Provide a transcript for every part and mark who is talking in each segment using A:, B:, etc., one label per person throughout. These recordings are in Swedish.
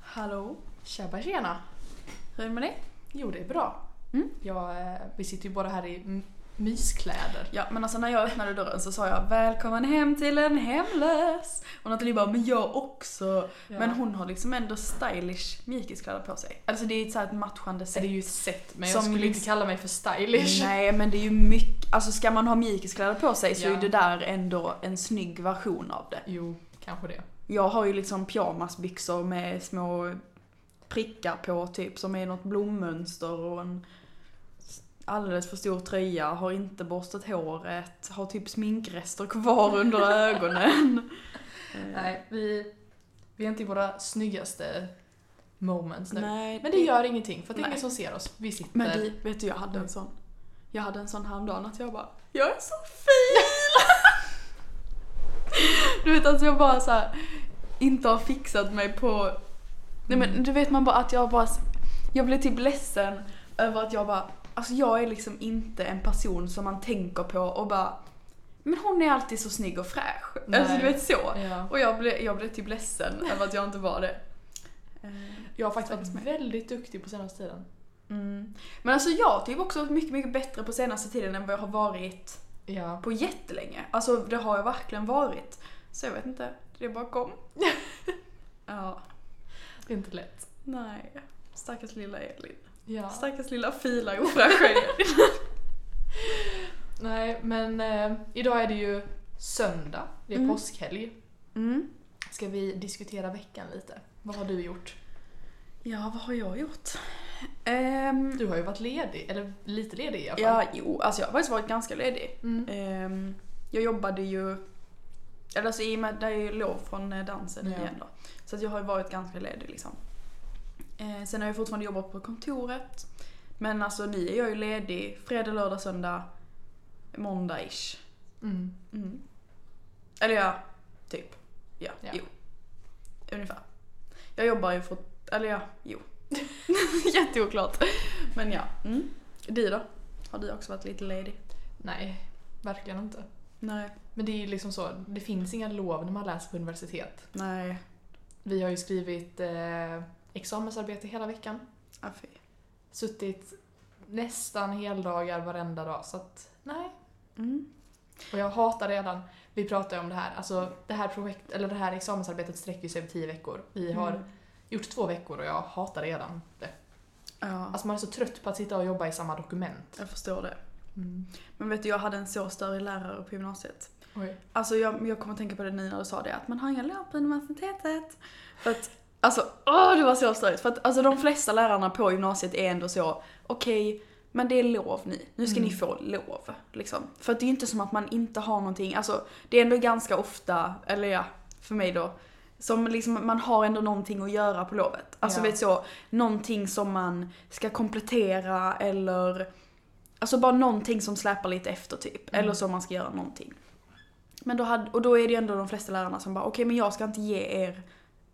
A: Hallå?
B: Tjabba tjena!
A: Hur är det med dig?
B: Jo, det är bra.
A: Mm.
B: Jag, eh, vi sitter ju båda här i m- myskläder.
A: Ja, men alltså när jag öppnade dörren så sa jag Välkommen hem till en hemlös! Och Nathalie bara Men jag också! Men hon har liksom ändå stylish mjukiskläder på sig. Alltså det är ett, så här, ett matchande
B: Så
A: sätt.
B: det är ju ett sätt, men
A: Som
B: jag skulle
A: lyx-
B: inte kalla mig för stylish.
A: Nej men det är ju mycket, alltså ska man ha mjukiskläder på sig så
B: Ja.
A: är det där ändå en snygg version av det.
B: Jo, kanske det.
A: Jag har ju liksom pyjamasbyxor med små prickar på typ som är något blommönster och en alldeles för stor tröja, har inte borstat håret, har typ sminkrester kvar under ögonen. Eh,
B: Nej, vi, vi är inte i våra snyggaste moments nu.
A: Nej,
B: Men det gör ingenting, för det är
A: Nej.
B: ingen som ser oss. Vi sitter...
A: Men vi, vet du jag hade en sån. Jag hade en sån häromdagen att jag bara Jag är så fin! du vet alltså jag bara så här, inte har fixat mig på... Nej men du vet man bara att jag bara... Jag blev typ ledsen över att jag bara Alltså jag är liksom inte en person som man tänker på och bara Men hon är alltid så snygg och fräsch. Alltså du
B: Nej.
A: vet så.
B: Ja.
A: Och jag blev, jag blev typ ledsen över att jag inte var det.
B: Jag har faktiskt
A: Stackars
B: varit väldigt duktig på senaste tiden.
A: Mm. Men alltså jag har typ också varit mycket, mycket bättre på senaste tiden än vad jag har varit
B: Ja.
A: på jättelänge. Alltså det har jag verkligen varit. Så jag vet inte, det bara kom. ja,
B: Det är inte lätt.
A: nej. Stackars lilla Elin.
B: Ja.
A: Stackars lilla fila och fräscha Elin.
B: Nej, men eh, idag är det ju söndag. Det är
A: Mm.
B: påskhelg.
A: Mm.
B: Ska vi diskutera veckan lite? Vad har du gjort?
A: Ja, vad har jag gjort? Ehm,
B: Du har ju varit ledig, eller lite ledig i alla fall.
A: ja, jo, alltså jag har faktiskt varit ganska ledig.
B: Mm.
A: Ehm, jag jobbade ju, eller alltså i och med att det är ju lov från eh, dansen
B: Ja.
A: igen då. Så att jag har ju varit ganska ledig liksom. Eh, sen har jag fortfarande jobbat på kontoret. Men alltså nu är jag ju ledig fredag, lördag, söndag, måndag-ish.
B: Mm.
A: Mm. Eller ja, typ. Ja,
B: Ja.
A: jo. Ungefär. Jag jobbar ju fort, eller ja, jo. Jätteoklart. Men ja. Mm. Du då? Har du också varit lite ledig?
B: Nej, verkligen inte.
A: Nej.
B: Men det är ju liksom så, det finns inga lov när man läser på universitet.
A: Nej.
B: Vi har ju skrivit eh, examensarbete hela veckan.
A: Ah, fy.
B: Suttit nästan heldagar varenda dag, så att nej.
A: Mm.
B: Och jag hatar redan, vi pratar ju om det här, alltså det här projekt, eller det här examensarbetet sträcker sig över tio veckor. Vi har
A: Mm.
B: gjort två veckor och jag hatar redan det.
A: Ja,
B: Alltså man är så trött på att sitta och jobba i samma dokument.
A: jag förstår det. Men vet du, jag hade en så störig lärare på gymnasiet.
B: Oj.
A: Alltså jag, jag kommer att tänka på det nu när du sa det, att man har inga lön på universitetet. För att, alltså, åh det var så störigt. För att alltså de flesta lärarna på gymnasiet är ändå så, okej, men det är lov nu. Nu ska ni
B: Mm.
A: få lov. Liksom. För att det är ju inte som att man inte har någonting, alltså det är ändå ganska ofta, eller ja, för mig då, som liksom, man har ändå någonting att göra på lovet. Alltså
B: Ja.
A: vet så, någonting som man ska komplettera eller Alltså bara någonting som släpar lite efter typ.
B: Mm.
A: Eller så man ska göra någonting. Men då hade, och då är det ju ändå de flesta lärarna som bara okej men jag ska inte ge er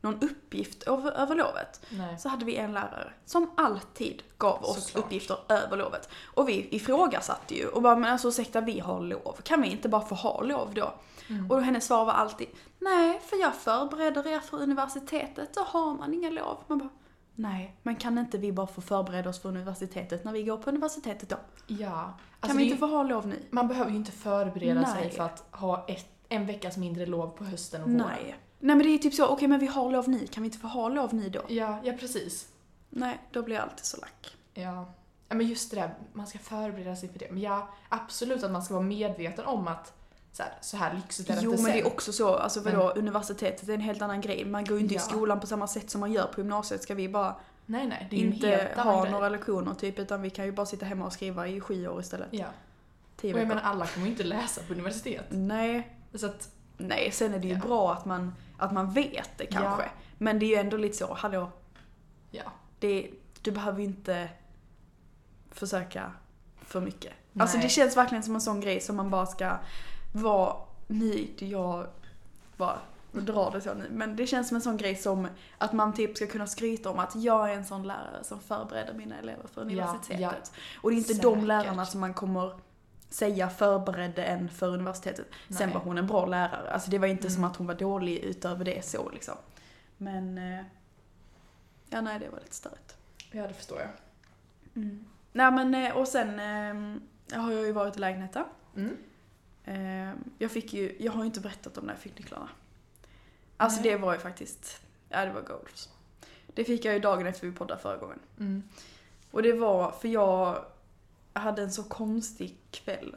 A: någon uppgift över, över lovet.
B: Nej.
A: Så hade vi en lärare som alltid gav oss
B: Såklart.
A: uppgifter över lovet. Och vi ifrågasatte ju och bara men alltså ursäkta vi har lov. Kan vi inte bara få ha lov då?
B: Mm.
A: Och hennes svar var alltid nej för jag förbereder er för universitetet, då har man inga lov. Man bara nej men kan inte vi bara få förbereda oss för universitetet när vi går på universitetet då?
B: Ja.
A: Kan
B: Alltså,
A: vi
B: det-
A: inte få ha lov nu?
B: Man behöver ju inte förbereda
A: Nej.
B: sig för att ha ett, en veckas mindre lov på hösten och våren.
A: Nej. Nej men det är typ så, okej men vi har lov nu, kan vi inte få ha lov nu då?
B: Ja, ja precis.
A: Nej, då blir jag alltid så lack.
B: Ja. ja, men just det där, man ska förbereda sig för det. Men ja, absolut att man ska vara medveten om att så här, så här lyxigt är det
A: Jo
B: inte
A: men det
B: sen.
A: är också så, alltså vadå, universitetet är en helt annan grej. Man går ju inte
B: Ja.
A: i skolan på samma sätt som man gör på gymnasiet. Ska vi bara
B: Nej, nej, det är ju en
A: inte
B: helt annan
A: ha
B: grej.
A: några lektioner typ, utan vi kan ju bara sitta hemma och skriva i sju år istället.
B: Ja.
A: Tio
B: Och jag
A: veckor.
B: menar, alla kommer ju inte läsa på universitet.
A: Nej,
B: Så att,
A: nej, sen är det ju
B: Ja.
A: bra att man, att man vet det kanske.
B: Ja.
A: Men det är ju ändå lite så, hallå,
B: ja.
A: det, du behöver ju inte försöka för mycket. Alltså
B: Nej.
A: det känns verkligen som en sån grej som man bara ska vara nöjd. Jag bara drar det så nu. Men det känns som en sån grej som att man typ ska kunna skryta om att jag är en sån lärare som förbereder mina elever för universitetet.
B: ja.
A: Och det är inte de
B: Säkert.
A: lärarna som man kommer säga förberedde en för universitetet. Sen
B: Nej.
A: var hon en bra lärare. Alltså det var inte
B: Mm.
A: som att hon var dålig utöver det så liksom. Men eh, Ja, nej det var lite störigt.
B: Ja, det förstår jag. Mm.
A: Nej men eh, och sen eh, har jag ju varit i lägenheten.
B: Mm.
A: Eh, jag fick ju, jag har ju inte berättat om när jag fick nycklarna. Alltså
B: Nej.
A: det var ju faktiskt, ja det var gold. Det fick jag ju dagen efter vi poddade förra gången.
B: Mm.
A: Och det var för jag hade en så konstig kväll.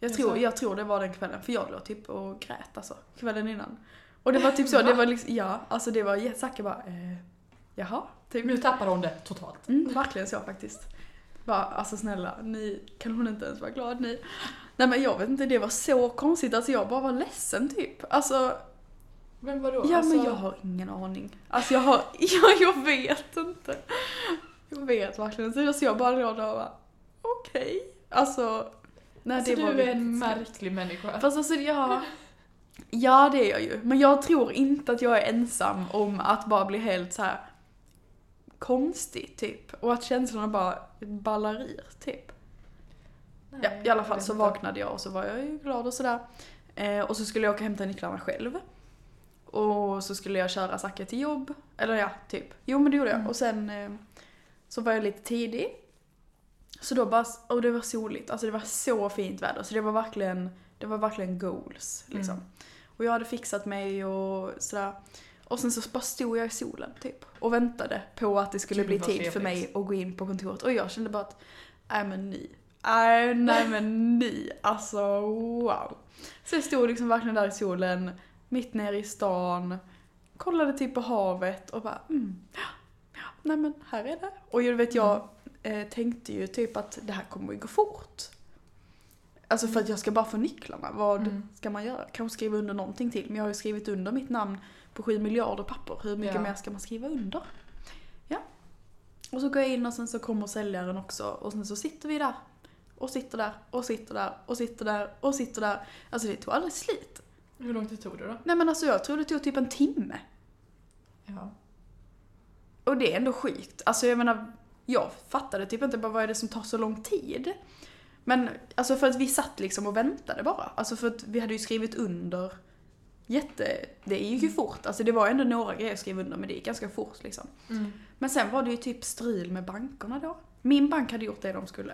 A: Jag
B: Jaså?
A: tror, jag tror det var den kvällen, för jag låg typ och grät alltså, kvällen innan. Och det var typ så, det var liksom, ja, alltså det var, jä- Zacke bara, eh, jaha, typ.
B: Nu tappar hon det totalt.
A: Mm, verkligen så faktiskt. Bara, alltså snälla, ni, kan hon inte ens vara glad ni? Nej men jag vet inte, det var så konstigt. Alltså jag bara var ledsen typ. Alltså,
B: Men vadå?
A: ja
B: Alltså,
A: men jag har ingen aning. Alltså jag har, ja, jag vet inte. Jag vet verkligen inte. Alltså jag bara låg där och bara, okej. Alltså, nej
B: alltså,
A: det
B: du
A: var
B: är en
A: riktigt skönt.
B: märklig människa.
A: Fast alltså jag... Ja det är jag ju, men jag tror inte att jag är ensam om att bara bli helt så här konstig typ. Och att känslorna bara ballar ur typ.
B: Nej,
A: Ja, I alla fall
B: vet
A: så
B: inte.
A: vaknade jag och så var jag ju glad och sådär. Eh, och så skulle jag åka och hämta nycklarna själv. Och så skulle jag köra Zacke till jobb. Eller ja, typ. Jo men det gjorde jag.
B: Mm.
A: Och sen eh, så var jag lite tidig. Så då bara, och det var soligt. Alltså det var så fint väder. Så det var verkligen, det var verkligen goals liksom.
B: Mm.
A: Och jag hade fixat mig och sådär. Och sen så bara stod jag i solen typ. Och väntade på att det skulle
B: Gud,
A: bli
B: vad
A: tid för mig
B: trevligt.
A: att gå in på kontoret. Och jag kände bara att, nej men ni. Nej, nej men ni. Alltså wow. Så jag stod liksom verkligen där i solen, mitt nere i stan. Kollade typ på havet och bara, mm. ja, ja, Nej men här är det. Och jag vet jag eh, tänkte ju typ att det här kommer ju gå fort. Alltså för att jag ska bara få nycklarna. Vad
B: Mm.
A: ska man göra? Kanske skriva under någonting till. Men jag har ju skrivit under mitt namn på sju miljarder papper. Hur mycket
B: Ja.
A: mer ska man skriva under? Ja. Och så går jag in och sen så kommer säljaren också. Och sen så sitter vi där. Och sitter där och sitter där och sitter där och sitter där. Alltså det tog aldrig slut.
B: Hur lång tid tog det då?
A: Nej men alltså jag tror det tog typ en timme.
B: Ja.
A: Och det är ändå sjukt. Alltså jag menar, jag fattade typ inte bara vad är det som tar så lång tid. Men alltså för att vi satt liksom och väntade bara. Alltså för att vi hade ju skrivit under jätte... Det gick ju fort. Alltså det var ändå några grejer jag skrev under men det gick ganska fort liksom.
B: Mm.
A: Men sen var det ju typ strul med bankerna då. Min bank hade gjort det de skulle.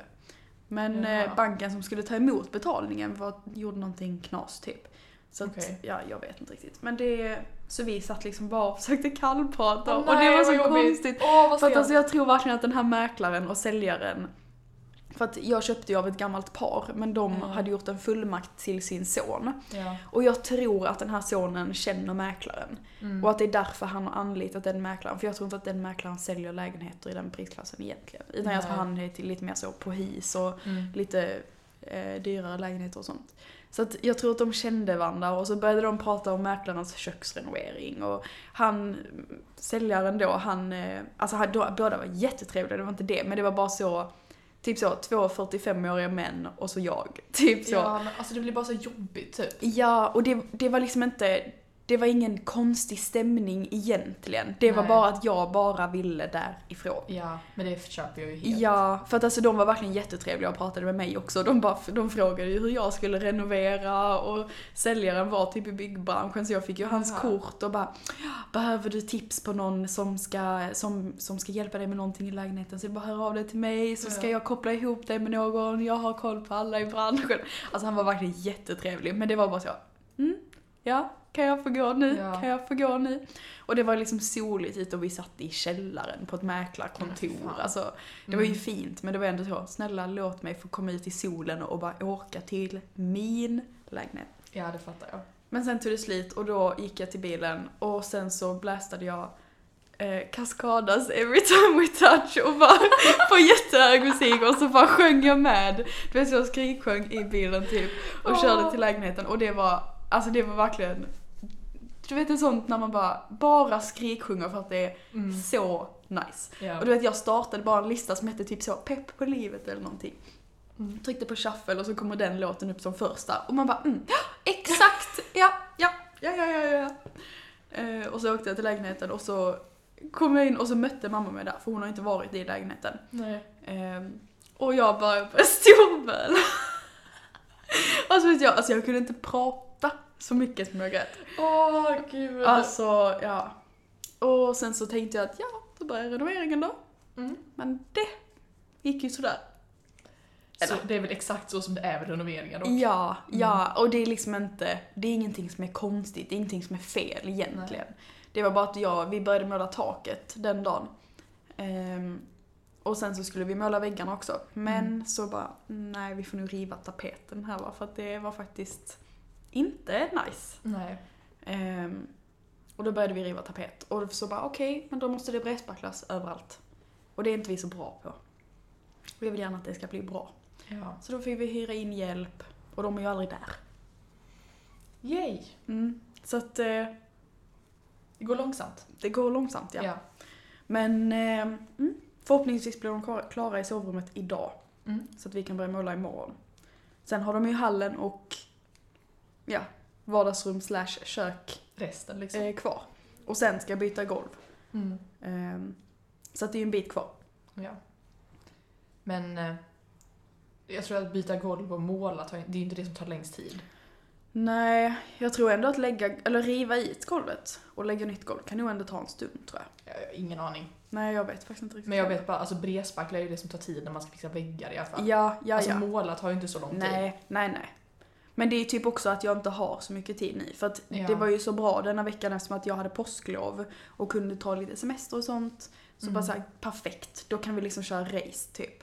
A: Men
B: Jaha.
A: eh, banken som skulle ta emot betalningen var, gjorde någonting knas typ. Så att,
B: Okej.
A: ja, jag vet inte riktigt. Men det, så vi satt liksom bara och försökte kallprata
B: Åh,
A: och det
B: nej,
A: var så
B: vad jobbigt.
A: konstigt.
B: Åh, vad
A: För att
B: sent.
A: alltså, jag tror verkligen att den här mäklaren och säljaren för att jag köpte ju av ett gammalt par men de
B: Mm.
A: hade gjort en fullmakt till sin son.
B: Ja.
A: Och jag tror att den här sonen känner mäklaren.
B: Mm.
A: Och att det är därför han har anlitat den mäklaren. För jag tror inte att den mäklaren säljer lägenheter i den prisklassen egentligen. Utan jag tror
B: Nej.
A: han är till lite mer så på his och
B: Mm.
A: lite eh, dyrare lägenheter och sånt. Så att jag tror att de kände varandra och så började de prata om mäklarens köksrenovering och han, mm, säljaren då, han, eh, alltså han, då, båda var jättetrevliga, det var inte det, men det var bara så, typ så två 45-åriga män och så jag, typ så. Ja,
B: Ja, men alltså det blir bara så jobbigt typ.
A: och det, det var liksom inte, det var ingen konstig stämning egentligen, det var
B: Nej.
A: bara att jag bara ville därifrån.
B: Ja, men det köper jag ju helt.
A: Ja, för att alltså de var verkligen jättetrevliga och pratade med mig också. De, bara, de frågade ju hur jag skulle renovera och säljaren var typ i byggbranschen så jag fick ju hans
B: Jaha.
A: kort och bara Behöver du tips på någon som ska, som, som ska hjälpa dig med någonting i lägenheten så bara hör av dig till mig så ska
B: Ja.
A: jag koppla ihop dig med någon, jag har koll på alla i branschen. Alltså han var verkligen jättetrevlig men det var bara så mm, ja, kan jag få gå nu?
B: Ja.
A: Kan jag få gå nu? Och det var liksom soligt ute och vi satt i källaren på ett mäklarkontor.
B: Men fan.
A: Alltså, det var ju fint men det var ändå så, snälla låt mig få komma ut i solen och bara åka till min lägenhet.
B: Ja, det fattar jag.
A: Men sen tog det slut och då gick jag till bilen och sen så blästade jag eh, Cascadas Every time we touch och bara på jättehög musik och så bara sjöng jag med. Du vet jag skriksjöng i bilen typ och
B: Åh.
A: körde till lägenheten och det var, alltså det var verkligen du vet det är sånt när man bara, bara skriksjunger för att det är
B: Mm.
A: så nice.
B: Ja.
A: Och du vet jag startade bara en lista som hette typ så pepp på livet eller någonting.
B: Mm.
A: Tryckte på shuffle och så kommer den låten upp som första och man bara mm, ja, exakt, ja, ja, ja, ja, ja, ja. Eh, och så åkte jag till lägenheten och så kom jag in och så mötte mamma mig där för hon har inte varit i lägenheten.
B: Nej.
A: Ehm, och jag bara började stormöla. alltså vet jag, alltså jag kunde inte prata så mycket som jag grät.
B: Åh, gud.
A: Alltså, ja. Och sen så tänkte jag att ja, då började renoveringen då.
B: Mm.
A: Men det gick ju sådär.
B: Så det är väl exakt så som det Mm. är vid renoveringar dock.
A: Ja, ja. Och det är liksom inte, det är ingenting som är konstigt, det är ingenting som är fel egentligen. Det var bara att jag, vi började måla taket den dagen. Ehm, och sen så skulle vi måla väggarna också. Men
B: Mm.
A: så bara, nej vi får nu riva tapeten här va, för att det var faktiskt inte nice.
B: Nej.
A: Ehm, och då började vi riva tapet. Och så bara, okej, men då måste det breddspacklas överallt. Och det är inte vi så bra på. Och jag vill gärna att det ska bli bra.
B: Ja.
A: Så då fick vi hyra in hjälp och de är ju aldrig där.
B: Yay!
A: Mm. Så att eh,
B: Det går långsamt.
A: det går långsamt ja. Men eh, mm, förhoppningsvis blir de klar- klara i sovrummet idag
B: Mm.
A: så att vi kan börja måla imorgon. Sen har de ju hallen och ja, vardagsrum slash kök
B: Resten liksom.
A: eh, kvar. Och sen ska jag byta golv.
B: Mm.
A: Ehm, så att det är ju en bit kvar.
B: Ja. Men eh, jag tror att byta golv och måla, tar, det är ju inte det som tar längst tid.
A: Nej, jag tror ändå att lägga, eller riva i ett golvet och lägga nytt golv kan nog ändå ta en stund tror jag.
B: Jag jag har ingen aning.
A: Nej, jag vet faktiskt inte riktigt.
B: Men jag vet bara, alltså bredspackla är ju det som tar tid när man ska fixa väggar i alla fall.
A: Ja, ja,
B: alltså
A: ja.
B: måla tar ju inte så lång tid.
A: Nej, nej, nej. Men det är ju typ också att jag inte har så mycket tid nu. För att
B: Ja.
A: det var ju så bra denna veckan eftersom att jag hade påsklov och kunde ta lite semester och sånt. Så
B: Mm.
A: bara såhär, perfekt. Då kan vi liksom köra race typ.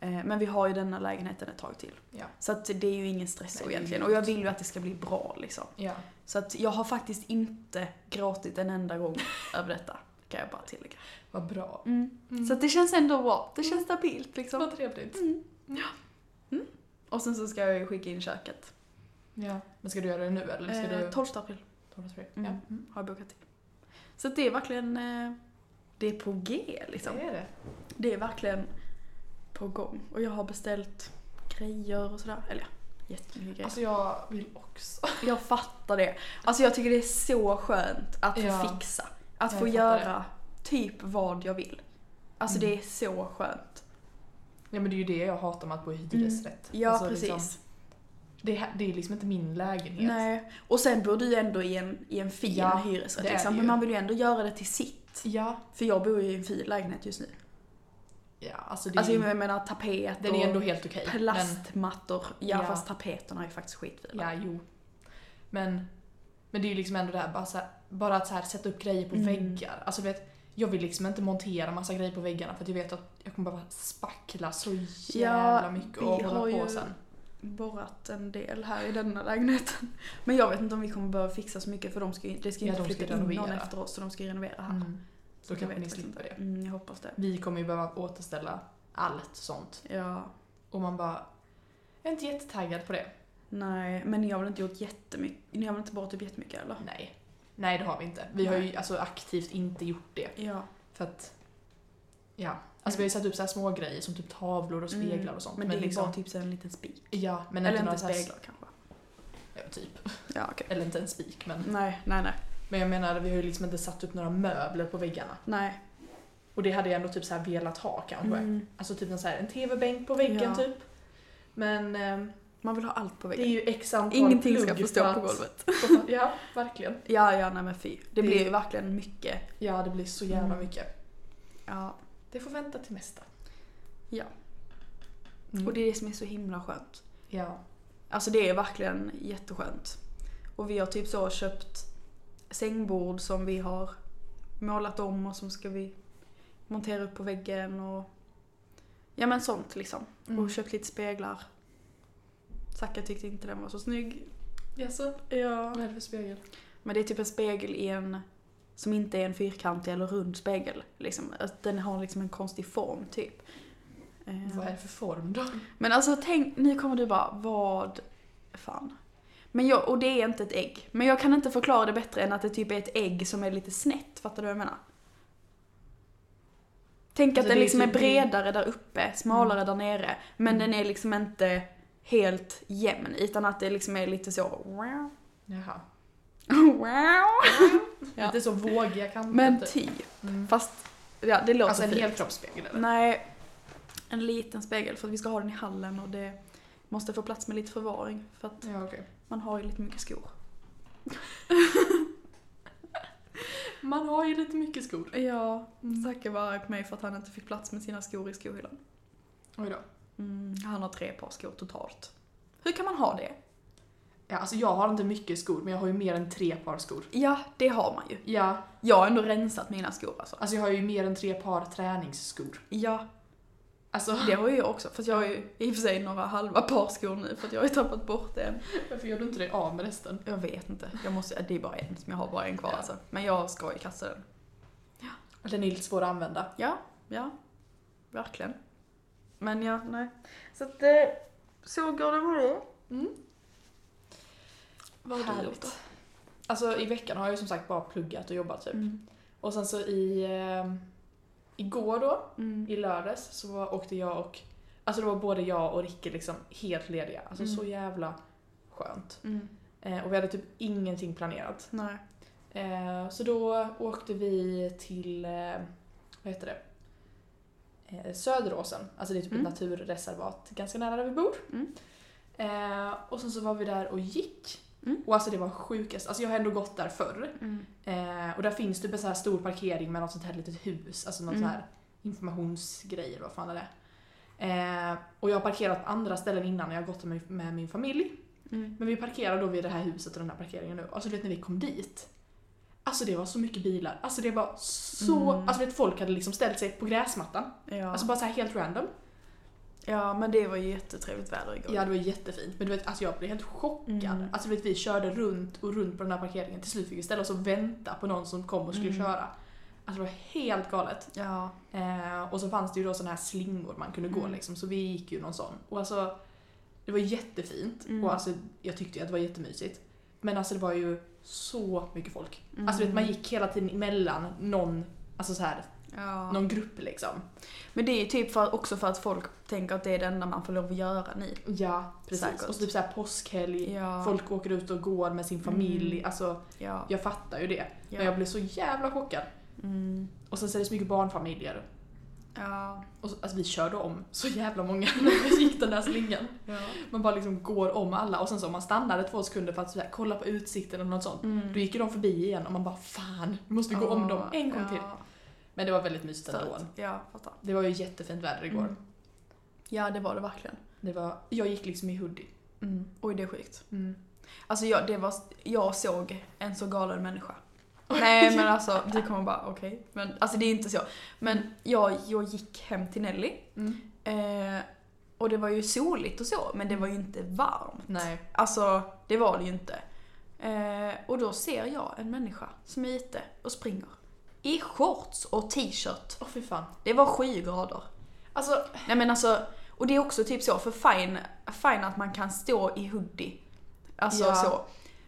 A: Eh, Men vi har ju denna lägenheten ett tag till.
B: Ja.
A: Så att det är ju ingen stress
B: Nej, det är
A: egentligen.
B: lugnt.
A: Och jag vill ju att det ska bli bra liksom.
B: Ja.
A: Så att jag har faktiskt inte gråtit en enda gång över detta. Kan jag bara tillägga.
B: Vad bra.
A: Mm.
B: Mm.
A: Så att det känns ändå bra. Det känns stabilt liksom.
B: Vad trevligt.
A: Och sen så ska jag ju skicka in köket.
B: Ja. Men ska du göra det nu eller ska
A: Eh,
B: du...
A: 12 april.
B: Tolv, tror jag.
A: Mm.
B: Ja. Mm.
A: har jag bokat in. Så att det är verkligen, eh, det är på G liksom.
B: Det är det.
A: Det är verkligen på gång. Och jag har beställt grejer och sådär. Eller ja, jättemycket grejer.
B: Alltså jag vill också.
A: jag fattar det. Alltså jag tycker det är så skönt att få
B: Ja.
A: fixa. Att
B: Jag
A: få
B: fattar
A: göra typ vad jag vill. Alltså
B: Mm.
A: det är så skönt.
B: Ja men det är ju det jag hatar med att bo i hyresrätt.
A: Mm. Ja
B: Alltså,
A: precis.
B: Liksom, det, här- det är liksom inte min lägenhet.
A: Nej. Och sen bor du ju ändå i en, i en fin
B: Ja,
A: hyresrätt
B: det är det
A: liksom. Men
B: ju.
A: man vill ju ändå göra det till sitt.
B: Ja.
A: För jag bor ju i en fin lägenhet just nu.
B: Ja, alltså det
A: Alltså
B: är,
A: jag menar tapet
B: den
A: och...
B: är ändå helt okej. men-
A: Plastmattor. Ja,
B: Ja.
A: fast tapeterna är ju faktiskt skitfina.
B: Ja, jo. Men, men det är ju liksom ändå det här, bara, så här, bara att så här, sätta upp grejer på
A: Mm.
B: väggar. Alltså du vet, jag vill liksom inte montera massa grejer på väggarna för att jag vet att jag kommer behöva spackla så jävla
A: Ja,
B: mycket
A: vi
B: och
A: har
B: hålla på
A: ju-
B: sen.
A: Borrat en del här i denna lägenheten. Men jag vet inte om vi kommer behöva fixa så mycket för de ska ju, det ska ju
B: Ja,
A: inte
B: de ska
A: flytta in någon
B: renovera.
A: efter oss så de ska ju renovera här.
B: Mm. Då
A: Jag
B: kanske
A: vet
B: ni
A: faktiskt
B: slipper det.
A: Mm, jag hoppas det.
B: Vi kommer ju behöva återställa allt sånt.
A: Ja,
B: Och man bara, jag är inte jättetaggad på det.
A: nej. Men ni har väl inte gjort jättemycket? Ni har väl inte borrat typ jättemycket eller?
B: Nej. Nej, det har vi inte. Vi har ju alltså aktivt inte gjort det.
A: Ja.
B: För att, ja. Alltså vi har ju satt upp så här små grejer som typ tavlor och speglar och sånt.
A: Mm. Men, det är ju
B: liksom,
A: bara typ så en liten spik.
B: Ja, men
A: Eller
B: inte några
A: inte
B: så här-
A: speglar kanske.
B: Ja, typ.
A: Ja, okej.
B: Eller inte en spik, men.
A: Nej, nej, nej.
B: Men jag menar, vi har ju liksom inte satt upp några möbler på väggarna.
A: Nej.
B: Och det hade jag ändå typ så här velat ha kanske.
A: Mm.
B: Alltså typ en, så här, en TV-bänk på väggen
A: Ja.
B: typ. Men ehm,
A: Man vill ha allt på
B: det är
A: väggen.
B: ju x antal
A: Ingenting ska
B: plugg
A: få stå
B: för
A: på
B: att-
A: golvet.
B: för att- Ja, verkligen.
A: Ja, ja, nej men fy. Det
B: Det-
A: blir ju verkligen mycket.
B: Ja, det blir så jävla
A: Mm.
B: mycket.
A: Ja,
B: Det får vänta till nästa.
A: Ja.
B: Mm.
A: Och det är det som är så himla skönt.
B: Ja.
A: Alltså det är verkligen jätteskönt. Och vi har typ så köpt sängbord som vi har målat om och som ska vi montera upp på väggen och ja men sånt liksom.
B: Mm.
A: Och köpt lite speglar. Zacka tyckte inte den var så snygg.
B: Jaså?
A: Ja.
B: Vad är det för spegel?
A: Men det är typ en spegel i en som inte är en fyrkantig eller rund spegel. Liksom. Att Den har liksom en konstig form typ. Eh,
B: Vad är det för form då?
A: Men alltså tänk, nu kommer du bara, vad fan. Men jag, och det är inte ett ägg. Men jag kan inte förklara det bättre än att det typ är ett ägg som är lite snett, fattar du vad jag menar? Tänk
B: Alltså,
A: att den
B: det är
A: liksom är
B: typ-
A: bredare där uppe, smalare där nere. Men
B: Mm.
A: den är liksom inte helt jämn, utan att det liksom är lite så... Wow.
B: Jaha.
A: wow. Ja.
B: Lite så vågiga kanter
A: Men
B: typ.
A: typ,
B: Mm.
A: fast... Ja, det låter
B: Alltså en
A: fint.
B: helkroppsspegel eller?
A: Nej, en liten spegel för att vi ska ha den i hallen och det måste få plats med lite förvaring för att
B: Ja, okej.
A: man har ju lite mycket skor.
B: Man har ju lite mycket skor.
A: Ja,
B: Mm.
A: Zacke var arg på mig för att han inte fick plats med sina skor i skohyllan.
B: Oj då.
A: Han har tre par skor totalt. Hur kan man ha det?
B: Ja, alltså jag har inte mycket skor, men jag har ju mer än tre par skor.
A: Ja, det har man ju.
B: Ja,
A: Jag har ändå rensat mina skor alltså.
B: alltså jag har ju mer än tre par träningsskor.
A: Ja,
B: Alltså,
A: det har ju jag också. Fast jag har ju i och för sig några halva par skor nu för att jag har ju tappat bort en.
B: varför gör du inte dig av med resten?
A: Jag vet inte. Jag måste, det är bara en som jag har bara en kvar
B: Ja.
A: alltså. Men jag ska ju kasta den.
B: Den är lite svår att använda.
A: Ja, ja. Verkligen. Men ja, nej. Så att eh, så går det med det. Mm. Vad har du
B: Härligt.
A: gjort då?
B: Alltså i veckan har jag ju som sagt bara pluggat och jobbat typ.
A: Mm.
B: Och sen så i... Eh, igår då,
A: Mm.
B: i lördags, så var- åkte jag och... Alltså då var både jag och Ricke liksom helt lediga. Alltså
A: Mm.
B: så jävla skönt.
A: Mm.
B: Eh, och vi hade typ ingenting planerat.
A: Nej.
B: Eh, så då åkte vi till... Eh, vad heter det? Eh, Söderåsen. Alltså det är typ
A: Mm.
B: ett naturreservat ganska nära där vi bor.
A: Mm.
B: Eh, och sen så var vi där och gick.
A: Mm.
B: Och alltså det var sjukast. Alltså jag har ändå gått där förr.
A: Mm.
B: Eh, och där finns typ en så här stor parkering med något sånt här litet hus, alltså någon
A: Mm.
B: sån här informationsgrej eller vad fan är det eh, Och jag har parkerat på andra ställen innan när jag har gått med, med min familj.
A: Mm.
B: Men vi parkerar då vid det här huset och den här parkeringen nu. Alltså du vet när vi kom dit. Alltså det var så mycket bilar. Alltså det var så...
A: Mm.
B: Alltså du vet folk hade liksom ställt sig på gräsmattan.
A: Ja.
B: Alltså bara så här helt random.
A: ja, men det var ju jättetrevligt väder igår.
B: Ja det var jättefint. Men du vet alltså jag blev helt chockad.
A: Mm.
B: Alltså du vet vi körde runt och runt på den här parkeringen. Till slut fick vi ställa oss och vänta på någon som kom och skulle
A: Mm.
B: köra. Alltså det var helt galet.
A: Ja.
B: Eh, och så fanns det ju då såna här slingor man kunde gå
A: Mm.
B: liksom. Så vi gick ju någon sån. Och alltså det var jättefint.
A: Mm.
B: Och alltså jag tyckte ju att det var jättemysigt. Men alltså det var ju så mycket folk.
A: Mm.
B: Alltså du vet man gick hela tiden mellan någon, alltså så här,
A: Ja.
B: någon grupp liksom.
A: Men det är ju typ för, också för att folk tänker att det är det enda man får lov att göra nu.
B: Ja, precis.
A: Säkert.
B: Och så typ så här påskhelg.
A: Ja.
B: Folk åker ut och går med sin familj.
A: Mm.
B: Alltså,
A: Ja.
B: jag fattar ju det.
A: Ja.
B: Men jag blev så jävla chockad.
A: Mm.
B: Och sen så är det så mycket barnfamiljer.
A: Ja.
B: Och så, alltså vi körde om så jävla många när vi gick den där slingan.
A: ja.
B: Man bara liksom går om alla och sen så om man stannade två sekunder för att så här, kolla på utsikten eller något sånt.
A: Mm.
B: Då gick ju de förbi igen och man bara fan, vi måste gå om dem en gång
A: ja.
B: till. Men det var väldigt mysigt ändå.
A: Sött. Ja, fattar.
B: Det var ju jättefint väder igår.
A: Mm. Ja, det var det verkligen.
B: Det var, jag gick liksom i hoodie.
A: Mm. Oj, det är sjukt.
B: Mm.
A: Alltså jag, det var, jag såg en så galen människa. Nej men alltså, du kommer bara okej. Men alltså det är inte så. Men jag, jag gick hem till Nelly eh, och det var ju soligt och så men det var ju inte varmt.
B: Nej.
A: Alltså det var det ju inte. Eh, och då ser jag en människa som är ute och springer. I shorts och t-shirt.
B: Åh fy fan.
A: Det var sju grader.
B: Alltså,
A: Nej men alltså, och det är också typ så, för fine, fine att man kan stå i hoodie. Alltså
B: Ja.
A: så.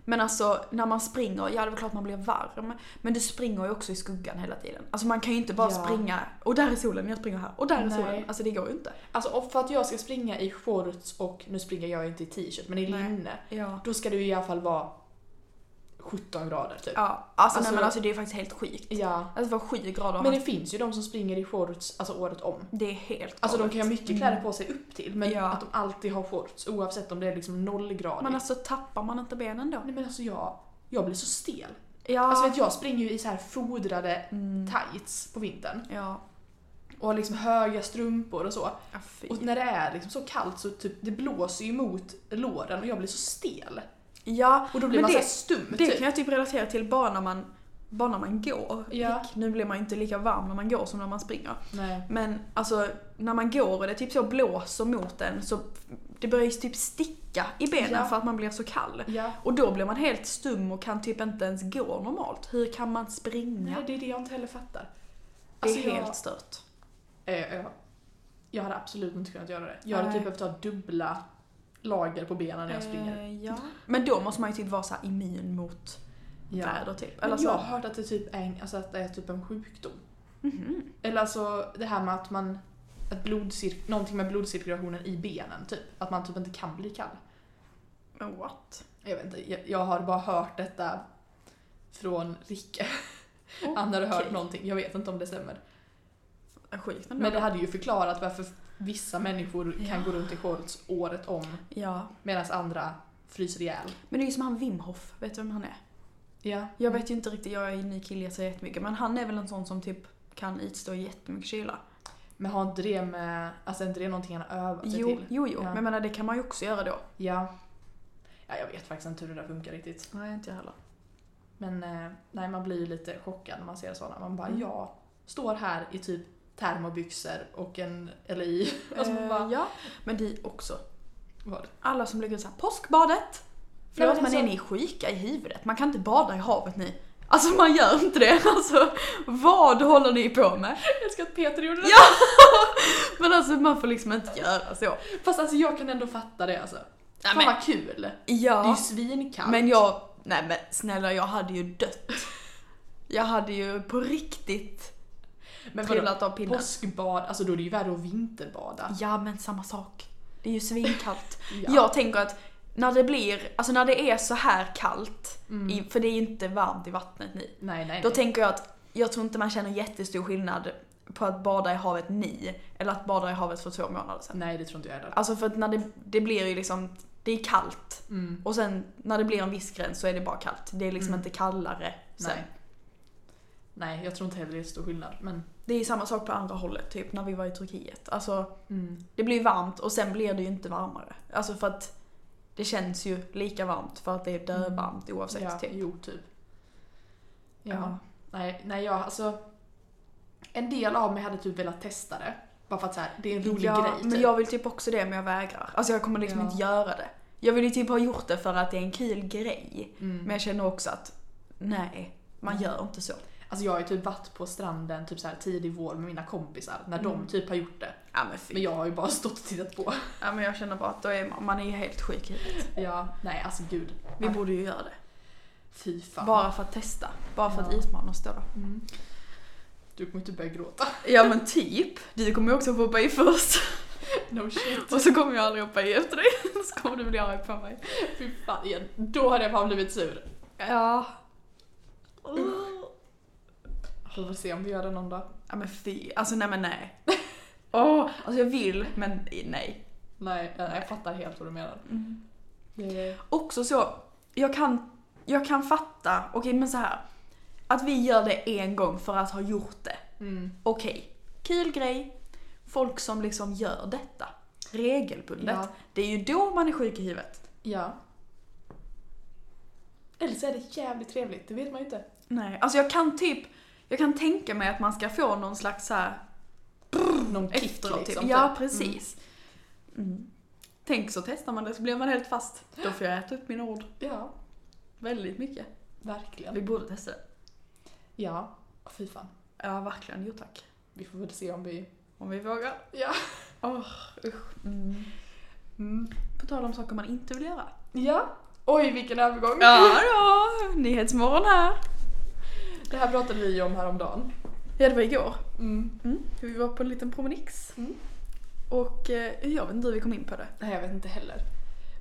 A: Men alltså när man springer, ja det är klart man blir varm. Men du springer ju också i skuggan hela tiden. Alltså man kan ju inte bara
B: Ja.
A: springa, och där är solen, jag springer här, och där är
B: Nej.
A: solen. Alltså det går ju inte.
B: alltså och för att jag ska springa i shorts och, nu springer jag inte i t-shirt men i
A: Nej.
B: linne.
A: Ja.
B: Då ska det ju i alla fall vara 17 grader typ.
A: Ja, alltså,
B: Alltså-
A: nej, men alltså det är faktiskt helt sjukt.
B: Ja.
A: Alltså det var sju grader.
B: Men det finns ju de som springer i shorts alltså året om.
A: det är helt
B: Alltså de
A: galet.
B: kan ju ha mycket kläder på sig upp till men
A: Mm. Ja.
B: att de alltid har shorts oavsett om det är liksom nollgradigt.
A: Men alltså tappar man inte benen då?
B: Nej men alltså jag, jag blir så stel.
A: Ja.
B: Alltså vet, jag springer ju i så här fodrade
A: mm.
B: tights på vintern
A: Ja.
B: och har liksom höga strumpor och så.
A: Ja, fy.
B: Och när det är liksom så kallt så typ, det blåser ju mot låren och jag blir så stel.
A: Ja,
B: Och då blir
A: Men
B: man
A: det-
B: så här stum
A: Det
B: typ.
A: kan jag typ relatera till bara när man, bara när man går.
B: Ja.
A: Gick. Nu blir man ju inte lika varm när man går som när man springer.
B: Nej.
A: Men alltså när man går och det typ så blåser mot en så det börjar ju typ sticka i benen
B: Ja.
A: för att man blir så kall.
B: Ja.
A: Och då blir man helt stum och kan typ inte ens gå normalt. Hur kan man springa?
B: Nej det är det jag inte heller fattar.
A: det är
B: Alltså, jag-
A: helt stört.
B: Eh, jag, jag hade absolut inte kunnat göra det. Jag hade
A: Nej.
B: typ behövt ha dubbla lager på benen när jag springer.
A: Eh, ja. Men då måste man ju typ vara så här immun mot väder typ. Eller
B: Men
A: så.
B: jag har hört att det typ är, en- alltså att det är typ en sjukdom.
A: Mhm.
B: Eller alltså det här med att man att blodcir- någonting med blodcirkulationen i benen typ. Att man typ inte kan bli kall.
A: Men what?
B: Jag vet inte, jag, jag har bara hört detta från Ricke. Han hade hört
A: Okej.
B: någonting, jag vet inte om det stämmer.
A: Sjukt ändå.
B: Men det hade ju förklarat varför vissa människor kan
A: Ja.
B: gå runt i shorts året om
A: Ja.
B: medan andra fryser ihjäl.
A: Men det är ju som han Wim Hof. Vet du vem han är?
B: Ja.
A: Jag vet ju inte riktigt, jag är ju ny kille så jättemycket men han är väl en sån som typ kan utstå jättemycket kyla.
B: Men har inte det med, alltså är inte det någonting han har övat sig
A: Jo,
B: till?
A: jo, jo.
B: Ja.
A: men jag menar det kan man ju också göra då.
B: Ja. Ja, jag vet faktiskt inte hur det där funkar riktigt.
A: Nej, inte jag heller.
B: Men eh, nej, man blir ju lite chockad när man ser sådana. Man bara,
A: Mm.
B: jag står här i typ termobyxor och en, eller i, alltså man bara,
A: Eh, ja. Men det är också,
B: vad?
A: alla som lägger ut såhär påskbadet!
B: men
A: Förlåt men,
B: alltså-
A: är ni sjuka i huvudet? Man kan inte bada i havet ni. Alltså man gör inte det. Alltså vad håller ni på med?
B: Jag älskar att Peter gjorde det.
A: Men alltså man får liksom inte göra så.
B: Fast alltså jag kan ändå fatta det alltså.
A: Nej,
B: Fan
A: men-
B: vad kul! Det är ju
A: Ja.
B: svinkallt.
A: Men jag, nej men snälla jag hade ju dött. Jag hade ju på riktigt
B: men vadå?
A: trillat av pinnen.
B: Påskbad, alltså då är det ju värre att vinterbada.
A: Ja men samma sak. Det är ju svinkallt.
B: Ja.
A: Jag tänker att när det blir, alltså när det är så här kallt,
B: Mm.
A: i, för det är ju inte varmt i vattnet nu.
B: Nej, nej.
A: Då
B: nej.
A: tänker jag att jag tror inte man känner jättestor skillnad på att bada i havet ni eller att bada i havet för två månader sedan.
B: nej, det tror inte jag heller.
A: Alltså för att när det, det blir ju liksom, det är kallt.
B: Mm.
A: Och sen när det blir en viss gräns så är det bara kallt. Det är liksom
B: Mm.
A: inte kallare sen.
B: Nej. nej, jag tror inte heller det är så stor skillnad. Men,
A: Det är samma sak på andra hållet, typ när vi var i Turkiet. Alltså,
B: mm.
A: det blir varmt och sen blir det ju inte varmare. Alltså för att det känns ju lika varmt för att det är dövarmt oavsett.
B: Mm. ja,
A: typ.
B: jo, typ. Ja.
A: Ja.
B: Nej, nej, jag alltså. En del av mig hade typ velat testa det. Bara för att så här, det är en rolig
A: ja,
B: grej. Typ.
A: men jag vill typ också det men jag vägrar. Alltså jag kommer liksom
B: Ja.
A: inte göra det. Jag vill ju typ ha gjort det för att det är en kul grej.
B: Mm.
A: Men jag känner också att nej, man gör inte så.
B: Alltså jag har ju typ varit på stranden typ så här tidig vår med mina kompisar när de
A: Mm.
B: typ har gjort det.
A: Ja men fy.
B: Men jag har ju bara stått och tittat på.
A: Ja, men jag känner bara att då är man, man är ju helt sjuk i huvudet.
B: Ja, nej alltså gud.
A: Vi
B: Ja.
A: borde ju göra det.
B: Fy fan.
A: Bara för att testa. Bara för att
B: Ja.
A: utmana oss då. då.
B: Mm. Du kommer inte börja gråta.
A: Ja men typ. Du kommer ju också få hoppa i först.
B: No shit.
A: Och så kommer jag aldrig hoppa i efter dig. Så kommer du bli arg på mig.
B: Fy fan igen. Då hade jag fan blivit sur.
A: Ja.
B: Vi får se om vi gör det någon dag.
A: Ja men fy. Alltså nej men nej. Åh, alltså jag vill men nej.
B: Nej, jag, jag fattar helt vad du menar.
A: Mm.
B: Det...
A: Också så, jag kan, jag kan fatta, okej men så här. Att vi gör det en gång för att ha gjort det.
B: Mm.
A: Okej, kul grej. Folk som liksom gör detta regelbundet.
B: Ja.
A: Det är ju då man är sjuk i huvudet.
B: ja. Eller så är det jävligt trevligt, det vet man ju inte.
A: Nej, alltså jag kan typ, jag kan tänka mig att man ska få någon slags så här
B: Någon kick
A: efteråt. Typ.
B: liksom.
A: Ja,
B: typ.
A: precis. Mm. Tänk så testar man det så blir man helt fast. Då får jag äta upp mina ord
B: Mm. Ja,
A: väldigt mycket.
B: verkligen.
A: Vi borde testa det.
B: Ja, Åh, fy fan.
A: Ja, verkligen. Jo tack.
B: Vi får väl se om vi...
A: Om vi vågar.
B: Ja.
A: Åh, usch. Mm.
B: Mm.
A: På tal om saker man inte vill göra.
B: Ja. Oj, vilken övergång.
A: Ja, ja. Nyhetsmorgon här.
B: Det här pratade vi ju om häromdagen.
A: Ja, det var igår.
B: Mm.
A: Vi var på en liten promenix.
B: Mm.
A: Och eh, jag vet inte hur vi kom in på det.
B: Nej, jag vet inte heller.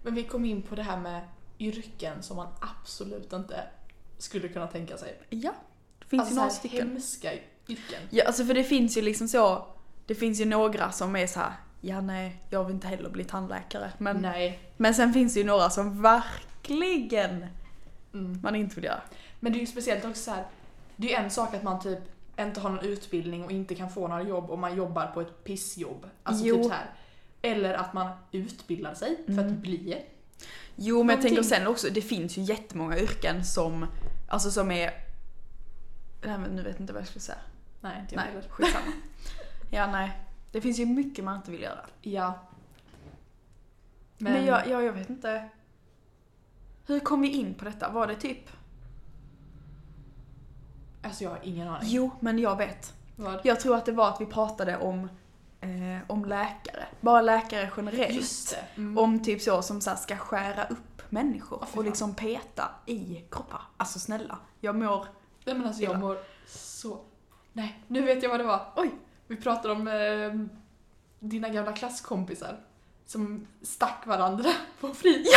B: Men vi kom in på det här med yrken som man absolut inte skulle kunna tänka sig. Alltså,
A: Ja. Det finns ju några
B: så här
A: stycken.
B: hemska yrken.
A: Ja, alltså för det finns ju liksom så. Det finns ju några som är så här. Ja, nej, jag vill inte heller bli tandläkare. Men,
B: Nej.
A: men sen finns det ju några som verkligen
B: Mm.
A: man inte vill göra.
B: Men det är ju speciellt också så här. det är ju en sak att man typ inte har någon utbildning och inte kan få några jobb och man jobbar på ett pissjobb. Alltså
A: Jo.
B: typ så här. Eller att man utbildar sig för att
A: Mm.
B: bli.
A: Jo, men jag
B: Någonting-
A: tänker sen också, det finns ju jättemånga yrken som, alltså som är... Nej, men nu vet jag inte vad jag skulle säga.
B: Nej, inte jag
A: Nej,
B: heller.
A: skitsamma. ja, nej. Det finns ju mycket man inte vill göra.
B: Ja.
A: Men, jag, jag, jag vet inte. Hur kom vi in på detta? Var det typ...
B: Alltså jag har ingen aning.
A: Jo, men jag vet.
B: Vad?
A: Jag tror att det var att vi pratade om, eh, om läkare. Bara läkare generellt.
B: Just det. Mm.
A: Om typ så som så här ska skära upp människor
B: Åh, fy
A: och
B: fan.
A: liksom peta i kroppar. Alltså snälla, jag mår...
B: Nej men alltså jag
A: Illa.
B: mår så... Nej, nu vet jag vad det var. Oj! Vi pratade om eh, dina gamla klasskompisar som stack varandra på fritiden.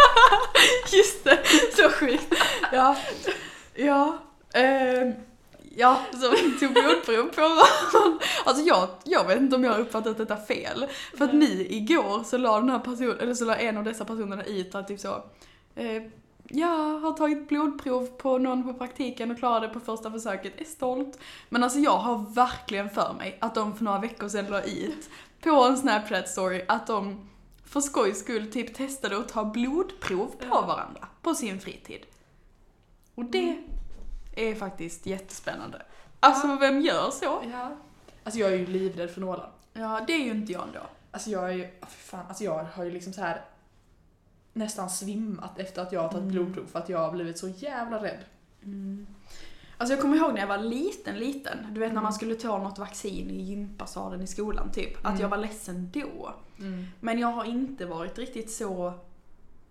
A: Just det, så sjukt. Ja, ja. ehm, ja, så vi tog blodprov på varandra. Alltså jag, jag vet inte om jag har uppfattat detta fel. För att ni igår så la den här personen, eller så la en av dessa personerna i att typ så eh, jag har tagit blodprov på någon på praktiken och klarade det på första försöket, är stolt. Men alltså jag har verkligen för mig att de för några veckor sedan la it på en Snapchat-story att de för skojs skull typ testade att ta blodprov på
B: Ja.
A: varandra på sin fritid. Och det är faktiskt jättespännande. Alltså vem gör så?
B: Ja. Alltså jag är ju livrädd för nålar.
A: Ja, det är ju inte jag ändå.
B: Alltså jag är ju, ah, fy fan, alltså jag har ju liksom så här nästan svimmat efter att jag har tagit
A: Mm.
B: blodprov för att jag har blivit så jävla rädd.
A: Mm. Alltså jag kommer ihåg när jag var liten, liten. Du vet när
B: Mm.
A: man skulle ta något vaccin i gympasalen i skolan typ. Att
B: Mm.
A: jag var ledsen då. Men jag har inte varit riktigt så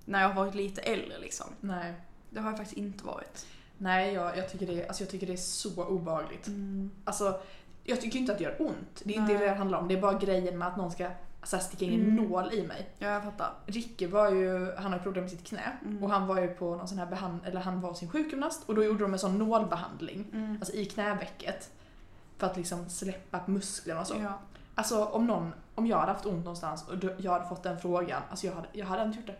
A: när jag har varit lite äldre liksom.
B: Nej,
A: Det har jag faktiskt inte varit.
B: nej jag, jag, tycker det, är- alltså jag tycker det är så obehagligt. Alltså, jag tycker inte att det gör ont. Det är inte
A: Nej.
B: det det handlar om. Det är bara grejen med att någon ska så här, sticka in en
A: Mm.
B: nål i mig.
A: Ja, jag fattar.
B: Ricke var ju, han har problem med sitt knä
A: Mm.
B: och han var ju på någon sån här behand, eller han var hos sin sjukgymnast och då gjorde de en sån nålbehandling.
A: Mm.
B: Alltså i knävecket. För att liksom släppa musklerna och så.
A: Ja.
B: Alltså om någon, om jag hade haft ont någonstans och då- jag hade fått den frågan, alltså jag hade, jag hade inte gjort det.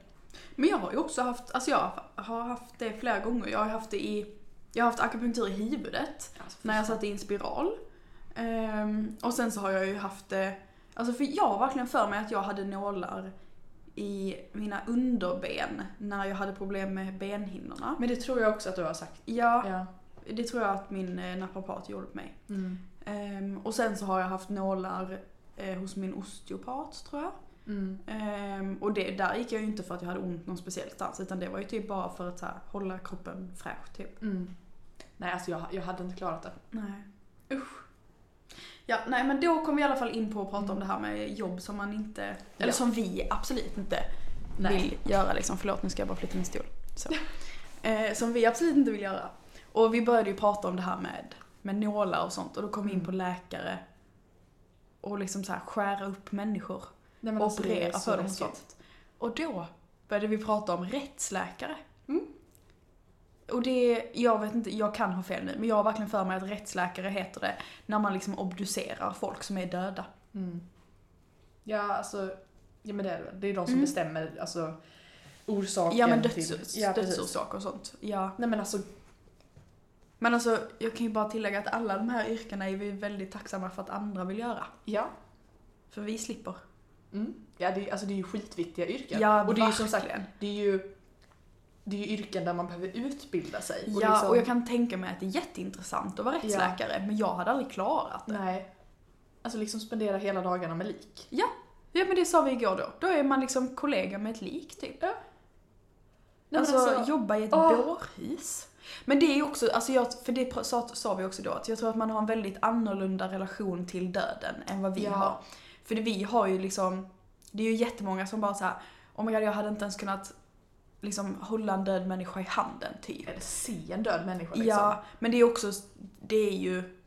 A: Men jag har ju också haft, alltså jag har haft det flera gånger. Jag har haft det i, jag har haft akupunktur i huvudet.
B: Alltså,
A: när jag satte in spiral. Ehm, och sen så har jag ju haft det, alltså för jag har verkligen för mig att jag hade nålar i mina underben när jag hade problem med benhinnorna.
B: Men det tror jag också att du har sagt.
A: Ja,
B: Ja.
A: det tror jag att min eh, naprapat gjorde på mig.
B: Mm.
A: Ehm, och sen så har jag haft nålar eh, hos min osteopat tror jag.
B: Mm.
A: Ehm, och det, där gick jag ju inte för att jag hade ont någon speciell stans utan det var ju typ bara för att så här, hålla kroppen fräsch typ.
B: Mm. Nej alltså jag, jag hade inte klarat det.
A: Nej. Usch. Ja, nej men då kom vi i alla fall in på att prata om
B: Mm.
A: det här med jobb som man inte, eller
B: Ja.
A: som vi absolut inte
B: Nej.
A: vill göra liksom. Förlåt nu ska jag bara flytta min stol. Så. Eh, som vi absolut inte vill göra. Och vi började ju prata om det här med, med nålar och sånt och då kom vi in
B: Mm.
A: på läkare och liksom så här skära upp människor
B: Nej,
A: och
B: men alltså, det är
A: operera
B: så
A: för dem och
B: läskigt.
A: sånt. Och då började vi prata om rättsläkare.
B: Mm.
A: Och det, jag vet inte, jag kan ha fel nu, men jag har verkligen för mig att rättsläkare heter det när man liksom obducerar folk som är döda.
B: Mm. Ja, alltså. Ja, men det är det väl. Det är de som
A: Mm.
B: bestämmer alltså, orsaken
A: Ja men
B: till...
A: döds,
B: Ja, precis.
A: dödsorsak och sånt. Ja.
B: Nej men alltså,
A: Men alltså, jag kan ju bara tillägga att alla de här yrkena är vi väldigt tacksamma för att andra vill göra.
B: ja.
A: För vi slipper.
B: Mm. ja det, är- alltså det är ju skitviktiga yrken. och det är ju som sagt,
A: verkligen.
B: det är ju, det är ju yrken där man behöver utbilda sig. liksom-
A: Ja, och jag kan tänka mig att det är jätteintressant att vara rättsläkare, men jag hade aldrig klarat det.
B: Nej. Alltså liksom spendera hela dagarna med lik.
A: Ja men det sa vi igår då. Då är man liksom kollega med ett lik typ.
B: Nej,
A: alltså,
B: men alltså,
A: jobba i ett
B: åh.
A: bårhus. Men det är ju också, alltså jag, för det pr- sa, sa vi också då, att jag tror att man har en väldigt annorlunda relation till döden än vad vi
B: Ja.
A: har. För det, vi har ju liksom, det är ju jättemånga som bara så här, oh my god jag hade inte ens kunnat liksom hålla en död människa i handen typ.
B: eller se en död människa liksom.
A: Ja, men det är också, det är ju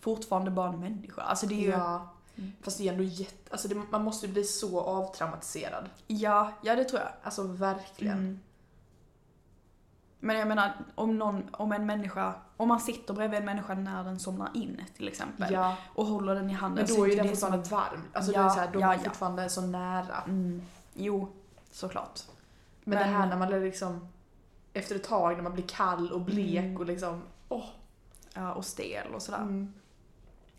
A: fortfarande bara en människa. Alltså det är ju, ja,
B: Ja. Fast det är ändå jätte... Alltså det, man måste ju bli så avtraumatiserad.
A: ja, det tror jag.
B: Alltså verkligen.
A: Mm. Men jag menar, om, någon, om en människa, om man sitter bredvid en människa när den somnar in till exempel
B: Ja.
A: och håller den i handen
B: Men
A: så
B: då är ju
A: inte
B: den
A: det som-
B: fortfarande varm. Alltså
A: Ja,
B: det är så här, då är
A: ja,
B: man
A: ja.
B: fortfarande så nära.
A: Mm. Jo, såklart.
B: Men,
A: Men-
B: det här när man blir liksom... Efter ett tag när man blir kall och blek
A: Mm.
B: och liksom... Åh!
A: Ja, och stel och sådär.
B: Mm.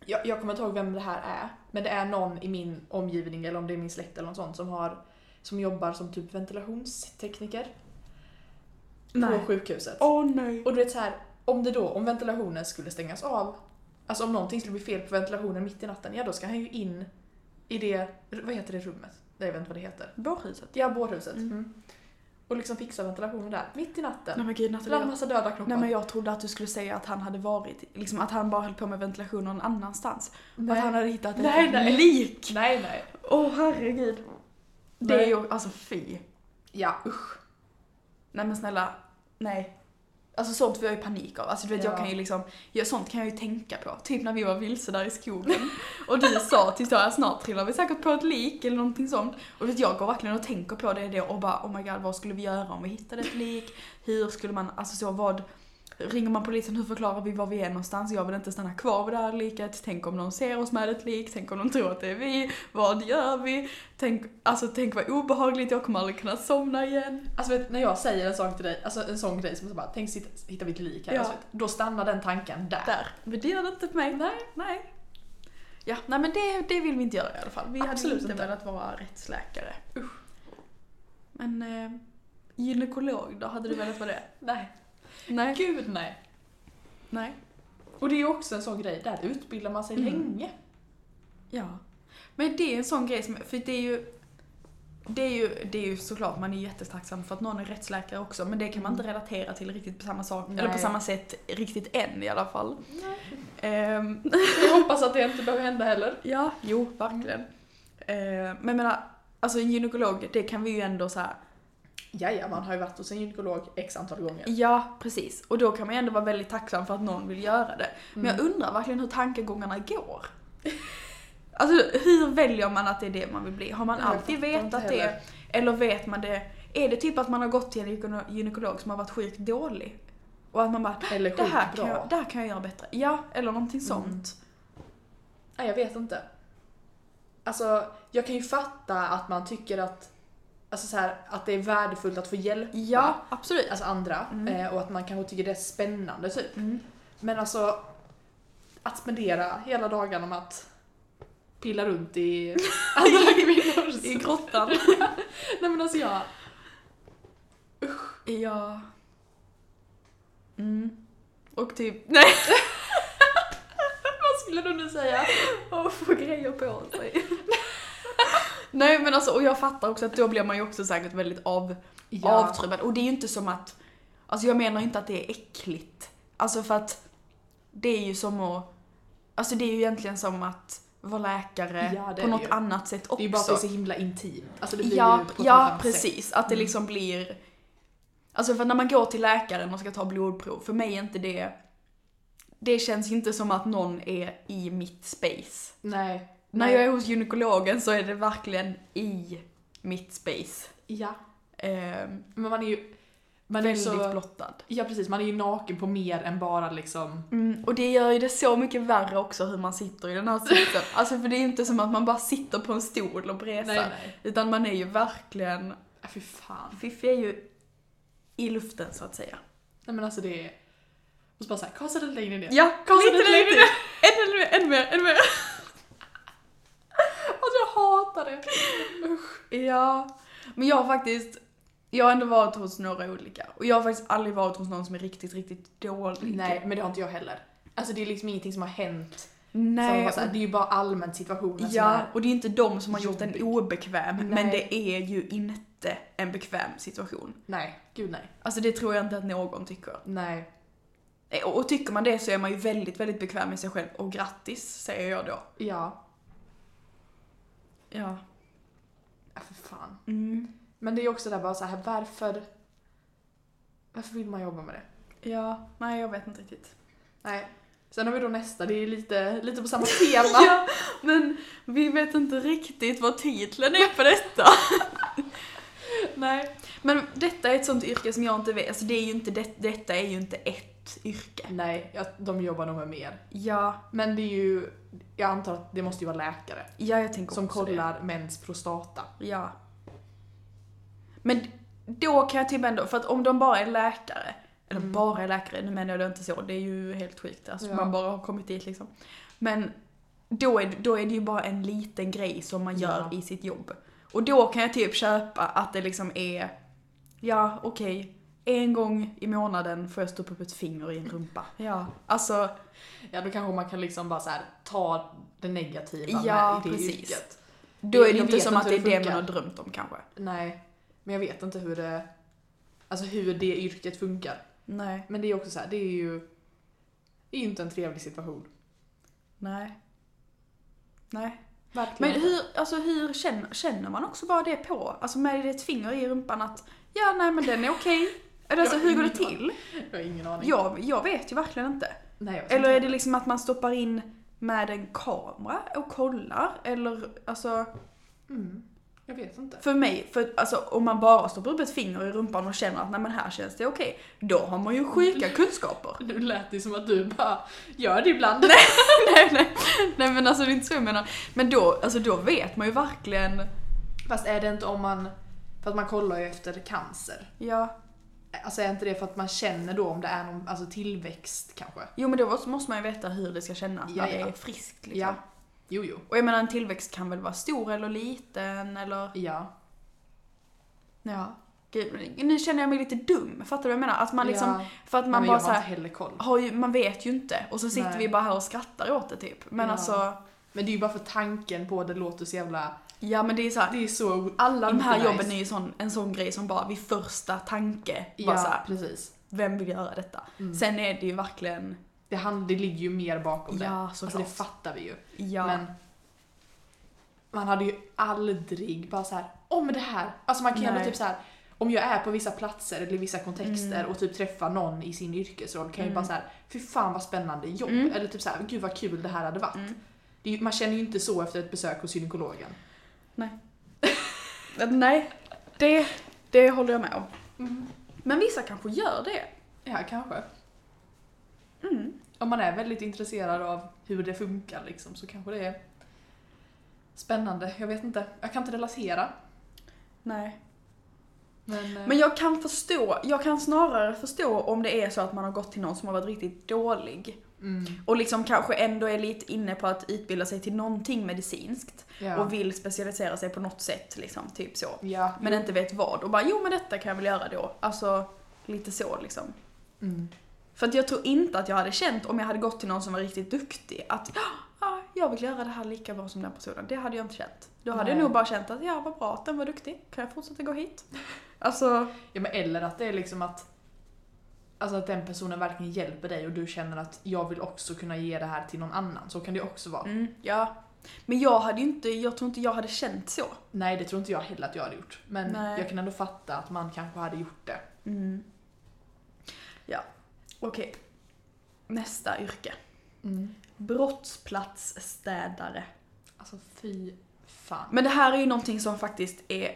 B: Jag, jag kommer inte ihåg vem det här är. Men det är någon i min omgivning eller om det är min släkt eller något sånt som har... Som jobbar som typ ventilationstekniker på
A: Nej.
B: sjukhuset.
A: Åh nej.
B: Och du vet så här, om det då, om ventilationen skulle stängas av, alltså om någonting skulle bli fel på ventilationen mitt i natten, ja då ska han ju in i det, vad heter det rummet? Nej, jag vet inte vad det heter.
A: Bårhuset.
B: Ja, bårhuset.
A: Mm.
B: Mm. Och liksom fixa ventilationen där, mitt i
A: Nej
B: natten.
A: men gud
B: Bland
A: Nathalie.
B: massa döda kroppar.
A: Nej men jag trodde att du skulle säga att han hade varit, liksom att han bara höll på med ventilation någon annanstans. Och
B: nej.
A: Att han hade hittat ett
B: Nej, nej.
A: lik.
B: nej, nej.
A: Åh herregud. Det
B: Nej.
A: är ju, alltså fy.
B: Ja, usch.
A: Nej men snälla, nej. Alltså sånt får jag ju panik av. Alltså du vet jag
B: Ja.
A: kan ju liksom, ja, sånt kan jag ju tänka på. Typ när vi var vilse där i skogen och du sa till Sara snart trillar vi säkert på ett lik eller någonting sånt. Och du vet jag går verkligen och tänker på det, det och bara oh my god vad skulle vi göra om vi hittade ett lik? Hur skulle man, alltså så vad, ringer man polisen, hur förklarar vi var vi är någonstans? Jag vill inte stanna kvar vid det här liket. Tänk om någon ser oss med ett lik? Tänk om de tror att det är vi? Vad gör vi? Tänk, alltså, tänk vad obehagligt, jag kommer aldrig kunna somna igen.
B: Alltså vet, när jag säger en sån till dig, alltså en sån grej som så bara, tänk sitt- hittar vi ett lik här.
A: Ja.
B: Alltså, vet, då stannar den tanken där.
A: Där, men det gör det inte för mig. Nej. Nej. Ja, nej men det, det vill vi inte göra i alla fall. Vi hade
B: Absolut
A: ju inte,
B: inte.
A: velat vara rättsläkare. Usch. Men eh, gynekolog då, hade du velat vara det?
B: Nej.
A: Nej.
B: Gud nej.
A: Nej.
B: Och det är ju också en sån grej, där utbildar man sig
A: Mm.
B: länge.
A: Ja. Men det är en sån grej som, för det är ju det är, ju, det är ju såklart, man är jättetacksam för att någon är rättsläkare också men det kan man inte relatera till riktigt på samma sak, eller på
B: Nej.
A: samma sätt riktigt än i alla fall. Ehm,
B: Jag hoppas att det inte behöver hända heller.
A: Ja, jo, verkligen. Eh, men jag menar, alltså en gynekolog, det kan vi ju ändå så här.
B: Jaja, man har ju varit hos en gynekolog x antal gånger.
A: Ja, precis. Och då kan man ju ändå vara väldigt tacksam för att någon vill göra det. Men jag
B: Mm.
A: undrar verkligen hur tankegångarna går. Alltså hur väljer man att det är det man vill bli? Har man
B: Jag
A: alltid
B: fattar inte
A: vetat det?
B: heller.
A: Eller vet man det? Är det typ att man har gått till en gyne- gynekolog som har varit sjukt dålig? Och att man bara,
B: Eller
A: det
B: sjukt
A: här,
B: bra. Mm.
A: kan jag, det här kan jag göra bättre. Ja, eller någonting sånt.
B: Nej, jag vet inte. Alltså, jag kan ju fatta att man tycker att, alltså så här, att det är värdefullt att få hjälp
A: Ja, absolut.
B: alltså andra
A: Mm.
B: eh, och att man kanske tycker det är spännande typ.
A: Mm.
B: Men alltså, att spendera hela dagarna med att pilla runt i andra kvinnors...
A: I grottan.
B: Nej men alltså jag...
A: Ja. Mm. Och typ, nej.
B: Vad skulle du nu säga?
A: Och få grejer på sig. nej men alltså, och jag fattar också att då blir man ju också säkert väldigt av, avtrubbad. Och det är ju inte som att, alltså jag menar inte att det är äckligt. Alltså för att det är ju som att, alltså det är ju egentligen som att vara läkare
B: Ja, det
A: på
B: är
A: något
B: det ju.
A: annat sätt också.
B: Det är ju bara att det är så himla intimt. Alltså det blir
A: Ja,
B: ju på ett helt
A: ja
B: annat sätt.
A: precis. Att det
B: Mm.
A: liksom blir... Alltså för när man går till läkaren och ska ta blodprov, för mig är inte det... Det känns inte som att någon är i mitt space.
B: Nej.
A: När jag är hos gynekologen så är det verkligen i mitt space.
B: Ja.
A: Ehm,
B: Men man är ju... Man är ju
A: väldigt
B: så...
A: blottad.
B: Ja precis, man är ju naken på mer än bara liksom...
A: Mm, och det gör ju det så mycket värre också hur man sitter i den här sitsen. alltså för det är ju inte som att man bara sitter på en stol och bresar.
B: nej.
A: Utan man är ju verkligen...
B: Ja, fy fan.
A: Fiffi är ju i luften så att säga.
B: Nej men alltså det är... Och så bara såhär, kasta den längre ner.
A: Ja,
B: Kom
A: lite, lite,
B: så lite,
A: lite.
B: lite.
A: Ännu mer, ännu mer, ännu mer.
B: Alltså jag hatar det.
A: Ja, men jag har faktiskt, jag har ändå varit hos några olika. Och jag har faktiskt aldrig varit hos någon som är riktigt, riktigt dålig.
B: Nej, men det har inte jag heller. Alltså det är liksom ingenting som har hänt. som
A: Nej.
B: var så här, det är ju bara Alltså, allmänt situationen som
A: Ja,
B: är...
A: och det är inte de som har gjort en
B: Jobbig.
A: obekväm, men
B: Nej.
A: det är ju inte en bekväm situation.
B: Nej, gud nej.
A: Alltså det tror jag inte att någon tycker.
B: Nej.
A: Eh, Och, och tycker man det så är man ju väldigt, väldigt bekväm med sig själv. Och grattis, säger jag då.
B: Ja.
A: Ja.
B: ja för fan.
A: Mm.
B: Men det är ju också där bara så här, varför... Varför vill man jobba med det?
A: Ja, nej jag vet inte riktigt.
B: Nej. Sen har vi då nästa, det är lite, lite på samma tema.
A: Ja, men vi vet inte riktigt vad titeln är på detta.
B: Nej.
A: Men detta är ett sånt yrke som jag inte vet, alltså det är ju inte, det, detta är ju inte ett yrke.
B: Nej, ja, de jobbar nog med mer.
A: Ja,
B: Men det är ju... Jag antar att det måste ju vara läkare.
A: ja jag tänker
B: Som
A: också
B: kollar mäns prostata.
A: det. Ja. Men då kan jag typ ändå, för att om de bara är läkare, eller
B: Mm.
A: bara är läkare, nu menar jag det inte så, det är ju helt sjukt, alltså
B: Ja.
A: man bara har kommit dit liksom. Men då är, då är det ju bara en liten grej som man gör
B: Ja.
A: i sitt jobb. Och då kan jag typ köpa att det liksom är, ja okej, en gång i månaden får jag stoppa upp ett finger i en rumpa. Ja, alltså
B: Ja, då kanske man kan liksom bara så här, ta det negativa
A: Ja,
B: med i det
A: precis.
B: yrket.
A: Då är det
B: Jag
A: inte
B: vet
A: som
B: inte
A: att det
B: hur
A: är
B: det
A: det man
B: funkar.
A: har drömt om kanske.
B: Nej, men jag vet inte hur det... Alltså hur det yrket funkar.
A: Nej.
B: Men det är också så här, det är ju... Det är ju inte en trevlig situation.
A: Nej. Nej. Men
B: Verkligen.
A: hur, alltså hur känner, känner man också bara det på? Alltså med ett finger i rumpan att ja, nej men den är okej. Eller alltså
B: Jag-
A: hur går det till?
B: Jag har ingen aning.
A: Jag, jag vet ju verkligen inte.
B: Nej, jag vet
A: Eller är
B: inte.
A: det liksom att man stoppar in med en kamera och kollar? Eller alltså,
B: Mm. Jag vet inte.
A: För mig, för alltså, om man bara stoppar upp ett finger i rumpan och känner att nej men här känns det okej, då har man ju sjuka kunskaper.
B: Nu lät det som att du bara gör det ibland.
A: nej, nej, nej men alltså det är inte så jag menar. Men då, alltså, då vet man ju verkligen,
B: Fast är det inte om man... För att man kollar ju efter cancer.
A: ja,
B: Alltså är inte det för att man känner då om det är någon alltså tillväxt kanske?
A: jo men då måste man ju veta hur det ska kännas när
B: Ja,
A: det
B: ja.
A: är friskt liksom.
B: Ja. Jo, jo.
A: Och jag menar en tillväxt kan väl vara stor eller liten eller...
B: Ja.
A: Ja. Gud, nu känner jag mig lite dum, fattar du vad jag menar? Att man liksom,
B: Ja.
A: för att
B: Man
A: man
B: men
A: bara
B: jag har
A: såhär,
B: inte heller koll.
A: har ju, man vet ju inte. Och så sitter
B: Nej.
A: vi bara här och skrattar åt det typ. Men
B: Ja.
A: alltså,
B: Men det är ju bara för tanken på det låter så jävla...
A: ja men det är såhär,
B: Det är så...
A: alla de
B: inte
A: här
B: nice.
A: jobben är ju sån, en sån grej som bara vid första tanke, bara
B: Ja,
A: såhär,
B: precis.
A: vem vill göra detta?
B: Mm.
A: Sen är det ju verkligen,
B: Det, hand, det ligger ju mer bakom det.
A: ja såklart.
B: Alltså det fattar vi ju.
A: ja.
B: Men man hade ju aldrig bara så här, om men det här. Alltså man kan ju ändå
A: Nej.
B: typ så här, om jag är på vissa platser eller i vissa kontexter och typ träffar någon i sin yrkesroll kan jag ju
A: Mm.
B: bara så här, fy fan vad spännande jobb.
A: Mm.
B: Eller typ så här, gud vad kul det här hade varit.
A: Mm.
B: Det är ju, man känner ju inte så efter ett besök hos gynekologen.
A: Nej, det, det håller jag med om.
B: Mm.
A: Men vissa kanske gör det.
B: Ja, kanske.
A: Mm.
B: Om man är väldigt intresserad av hur det funkar liksom så kanske det är spännande. Jag vet inte, jag kan inte relatera.
A: Nej.
B: Men, eh,
A: Men jag kan förstå, jag kan snarare förstå om det är så att man har gått till någon som har varit riktigt dålig
B: mm,
A: och liksom kanske ändå är lite inne på att utbilda sig till någonting medicinskt
B: ja.
A: och vill specialisera sig på något sätt liksom, typ så.
B: ja.
A: Men inte vet vad och bara jo men detta kan jag väl göra då. Alltså lite så liksom.
B: Mm.
A: För att jag tror inte att jag hade känt om jag hade gått till någon som var riktigt duktig att ja, jag vill göra det här lika bra som den personen. Det hade jag inte känt. Då hade jag
B: Nej.
A: nog bara känt att ja vad bra att den var duktig. Kan jag fortsätta gå hit? Alltså
B: Ja, men eller att det är liksom att Alltså att den personen verkligen hjälper dig och du känner att jag vill också kunna ge det här till någon annan. Så kan det ju också vara.
A: Mm, ja. Men jag hade ju inte, jag tror inte jag hade känt så.
B: Nej, det tror inte jag heller att jag hade gjort. Men
A: Nej.
B: jag kan ändå fatta att man kanske hade gjort det. Mm.
A: Ja, okej. Nästa yrke. Mm. Brottsplatsstädare.
B: Alltså fy fan.
A: Men det här är ju någonting som faktiskt är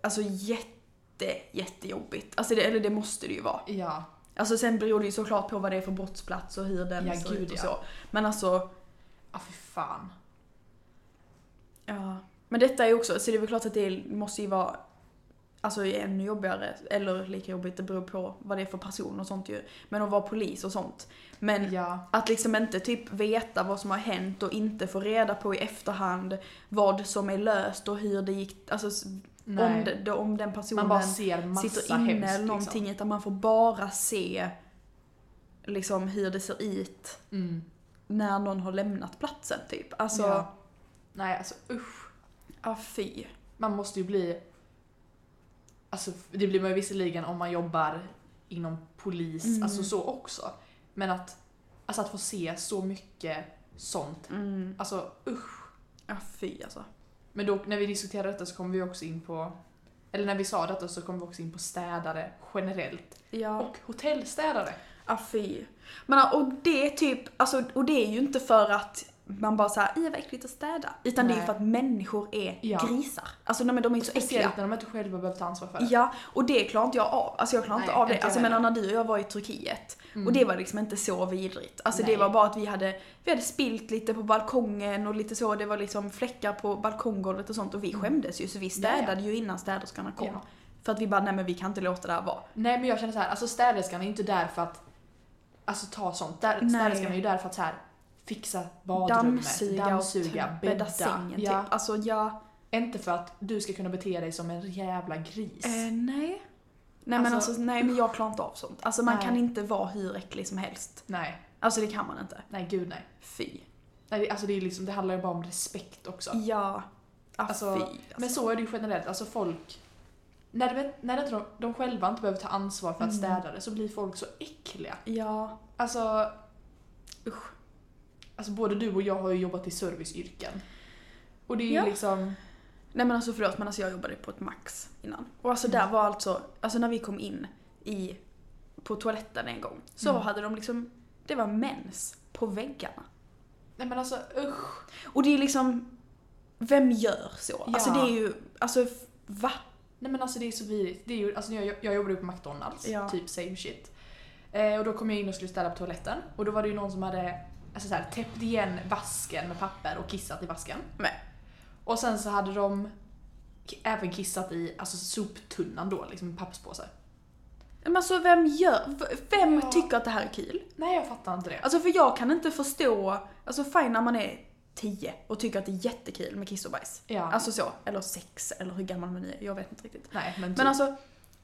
A: alltså jätte, jättejobbigt. Alltså det, eller det måste det ju vara.
B: Ja,
A: Alltså sen beror det ju såklart på vad det är för brottsplats och hur den
B: Ja,
A: ser
B: gud,
A: ut och
B: ja.
A: så. Men alltså,
B: ah, fy fan.
A: ja. Men detta är ju också, så det är väl klart att det måste ju vara Alltså ännu jobbigare, eller lika jobbigt, det beror på vad det är för person och sånt ju. Men att vara polis och sånt. Men
B: Ja,
A: Att liksom inte typ veta vad som har hänt och inte få reda på i efterhand vad som är löst och hur det gick, alltså s- om,
B: nej.
A: det, då- om den
B: man
A: personen
B: bara ser massa
A: sitter inne
B: hemskt, liksom.
A: eller någonting utan man får bara se liksom hur det ser ut
B: Liksom. Mm.
A: när någon har lämnat platsen typ. Alltså, ja,
B: Ja. Nej, alltså usch.
A: fy.
B: Man måste ju bli... Alltså det blir man ju visserligen om man jobbar inom polis,
A: Mm.
B: alltså så också. Men att, alltså att få se så mycket sånt,
A: Mm.
B: alltså usch.
A: Ja, fy alltså.
B: Men då när vi diskuterade detta så kom vi också in på, eller när vi sa detta så kom vi också in på städare generellt.
A: Ja.
B: Och hotellstädare.
A: Ja, Ah, fy. Men, och det är typ, alltså, och det är ju inte för att man bara såhär, i vad äckligt att städa. Utan det är ju
B: Nej.
A: för att människor är
B: Ja.
A: grisar. Alltså nej, men de är ju så äckliga.
B: Speciellt när de inte själva behöver ta ansvar för det.
A: Ja, och det klarar inte jag av. Alltså jag klarar inte
B: Nej,
A: av det.
B: inte jag
A: Alltså men
B: heller.
A: när du och jag var i Turkiet,
B: Mm.
A: och det var liksom inte så vidrigt. Alltså
B: Nej.
A: det var bara att vi hade, vi hade spilt lite på balkongen och lite så, det var liksom fläckar på balkonggolvet och sånt och vi skämdes ju så vi städade ju innan städerskorna kom.
B: Mm. Ja.
A: För att vi bara, nej men vi kan inte låta det här vara.
B: Nej men jag känner så här, alltså städerskan är inte där för att alltså, ta sånt. Där,
A: Nej.
B: städerskan är ju där för att så här, fixa badrummet, dammsuga,
A: och
B: bädda.
A: bädda sängen
B: ja.
A: typ. Alltså jag...
B: Inte för att du ska kunna bete dig som en jävla gris.
A: Eh, nej. Nej men
B: Alltså-
A: alltså, nej men jag klarar inte av sånt. Alltså man
B: Nej.
A: kan inte vara hur äcklig som helst.
B: Nej,
A: Alltså det kan man inte.
B: nej gud nej.
A: Fy.
B: nej det- alltså, det, är liksom, det handlar ju bara om respekt också.
A: Ja. Ah,
B: Alltså,
A: fy. Alltså.
B: Men så är det ju generellt, alltså folk... När, de, när de, inte- de själva inte behöver ta ansvar för att
A: Mm.
B: städa det så blir folk så äckliga.
A: Ja.
B: Alltså,
A: Usch.
B: alltså både du och jag har ju jobbat i serviceyrken. Och det är ju
A: Ja.
B: liksom...
A: Nej men alltså förlåt men alltså jag jobbade på ett Max innan. Och alltså där
B: Mm.
A: var alltså, alltså när vi kom in i, på toaletten en gång. Så
B: Mm.
A: hade de liksom, det var mens på väggarna.
B: Nej men alltså usch.
A: Och det är liksom, Vem gör så?
B: Ja.
A: Alltså det är ju, alltså f- va?
B: Nej men alltså det är så vidrigt. Det är ju, alltså, när jag, jag jobbade ju på McDonalds,
A: Ja.
B: typ same shit. Eh, och då kom jag in och skulle ställa på toaletten och då var det ju någon som hade alltså, så här, täppt igen vasken med papper och kissat i vasken.
A: Men.
B: Och sen så hade de k- även kissat i alltså, soptunnan då, liksom en papperspåse.
A: Men alltså vem gör, v- vem
B: Ja.
A: tycker att det här är kul?
B: Nej jag fattar inte det.
A: Alltså för jag kan inte förstå, alltså fine när man är 10 och tycker att det är jättekul med kiss och bajs.
B: Ja.
A: Alltså så, eller sex, eller hur gammal man är, jag vet inte riktigt.
B: Nej men,
A: Men
B: typ.
A: alltså,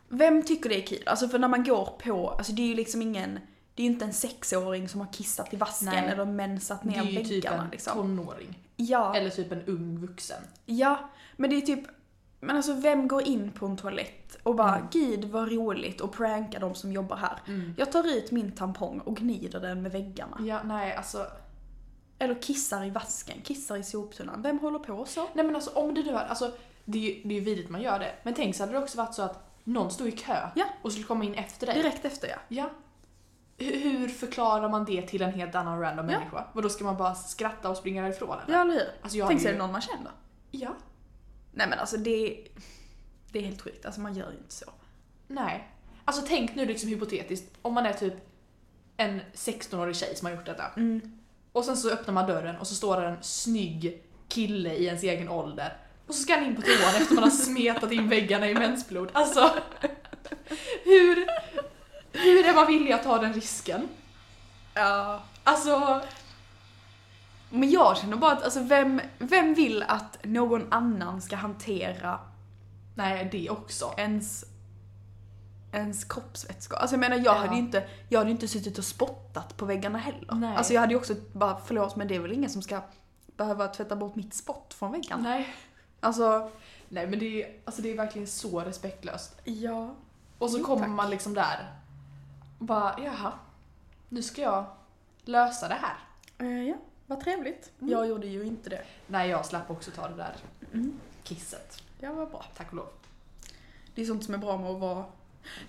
A: vem tycker det är kul? Alltså för när man går på, alltså det är ju liksom ingen, det är ju inte en sexåring som har kissat i vasken
B: Nej.
A: eller mensat
B: det
A: ner
B: är ju typ
A: väggarna
B: en
A: liksom.
B: tonåring.
A: Ja,
B: Eller typ en ung vuxen.
A: ja, men det är typ, men alltså vem går in på en toalett och bara
B: Mm.
A: gud vad roligt och pranka de som jobbar här. Jag tar ut min tampong och gnider den med väggarna.
B: Ja, nej alltså.
A: Eller kissar i vasken, kissar i soptunnan. Vem håller på så?
B: Nej men alltså om det nu är, alltså det är ju det är ju vidrigt man gör det. Men tänk så hade det också varit så att någon stod i kö
A: Ja.
B: och skulle komma in efter dig.
A: Direkt efter ja.
B: Ja. Hur, hur förklarar man det till en helt annan random
A: Ja.
B: människa? Vadå ska man bara skratta och springa därifrån eller?
A: Ja eller hur?
B: Alltså, jag
A: Tänk
B: hade
A: sig det är
B: ju-
A: någon man känner.
B: Ja.
A: Nej men alltså det, det är helt sjukt, alltså man gör ju inte så.
B: Nej. Alltså tänk nu liksom hypotetiskt, om man är typ en 16-årig tjej som har gjort detta.
A: Mm.
B: Och sen så öppnar man dörren och så står det en snygg kille i ens egen ålder. Och så ska han in på toan efter man har smetat in väggarna i mensblod. Alltså, hur, hur är man villig att ta den risken?
A: Ja.
B: Alltså,
A: Men jag känner bara att alltså, vem, vem vill att någon annan ska hantera
B: nej det också.
A: ens, ens kroppsvätskor? Alltså jag menar jag
B: Ja.
A: hade ju inte, jag hade ju inte suttit och spottat på väggarna heller.
B: Nej.
A: Alltså jag hade ju också bara, förlåt men det är väl ingen som ska behöva tvätta bort mitt spott från väggarna.
B: Nej.
A: Alltså,
B: Nej men det är, alltså, det är verkligen så respektlöst.
A: ja.
B: Och så
A: Jo,
B: kommer
A: tack.
B: man liksom där och bara jaha, nu ska jag lösa det här.
A: Eh, ja, vad trevligt. Jag gjorde ju inte det.
B: Nej, jag slapp också ta det där
A: Mm.
B: kisset.
A: Ja, vad bra.
B: Tack och lov.
A: Det är sånt som är bra med att vara...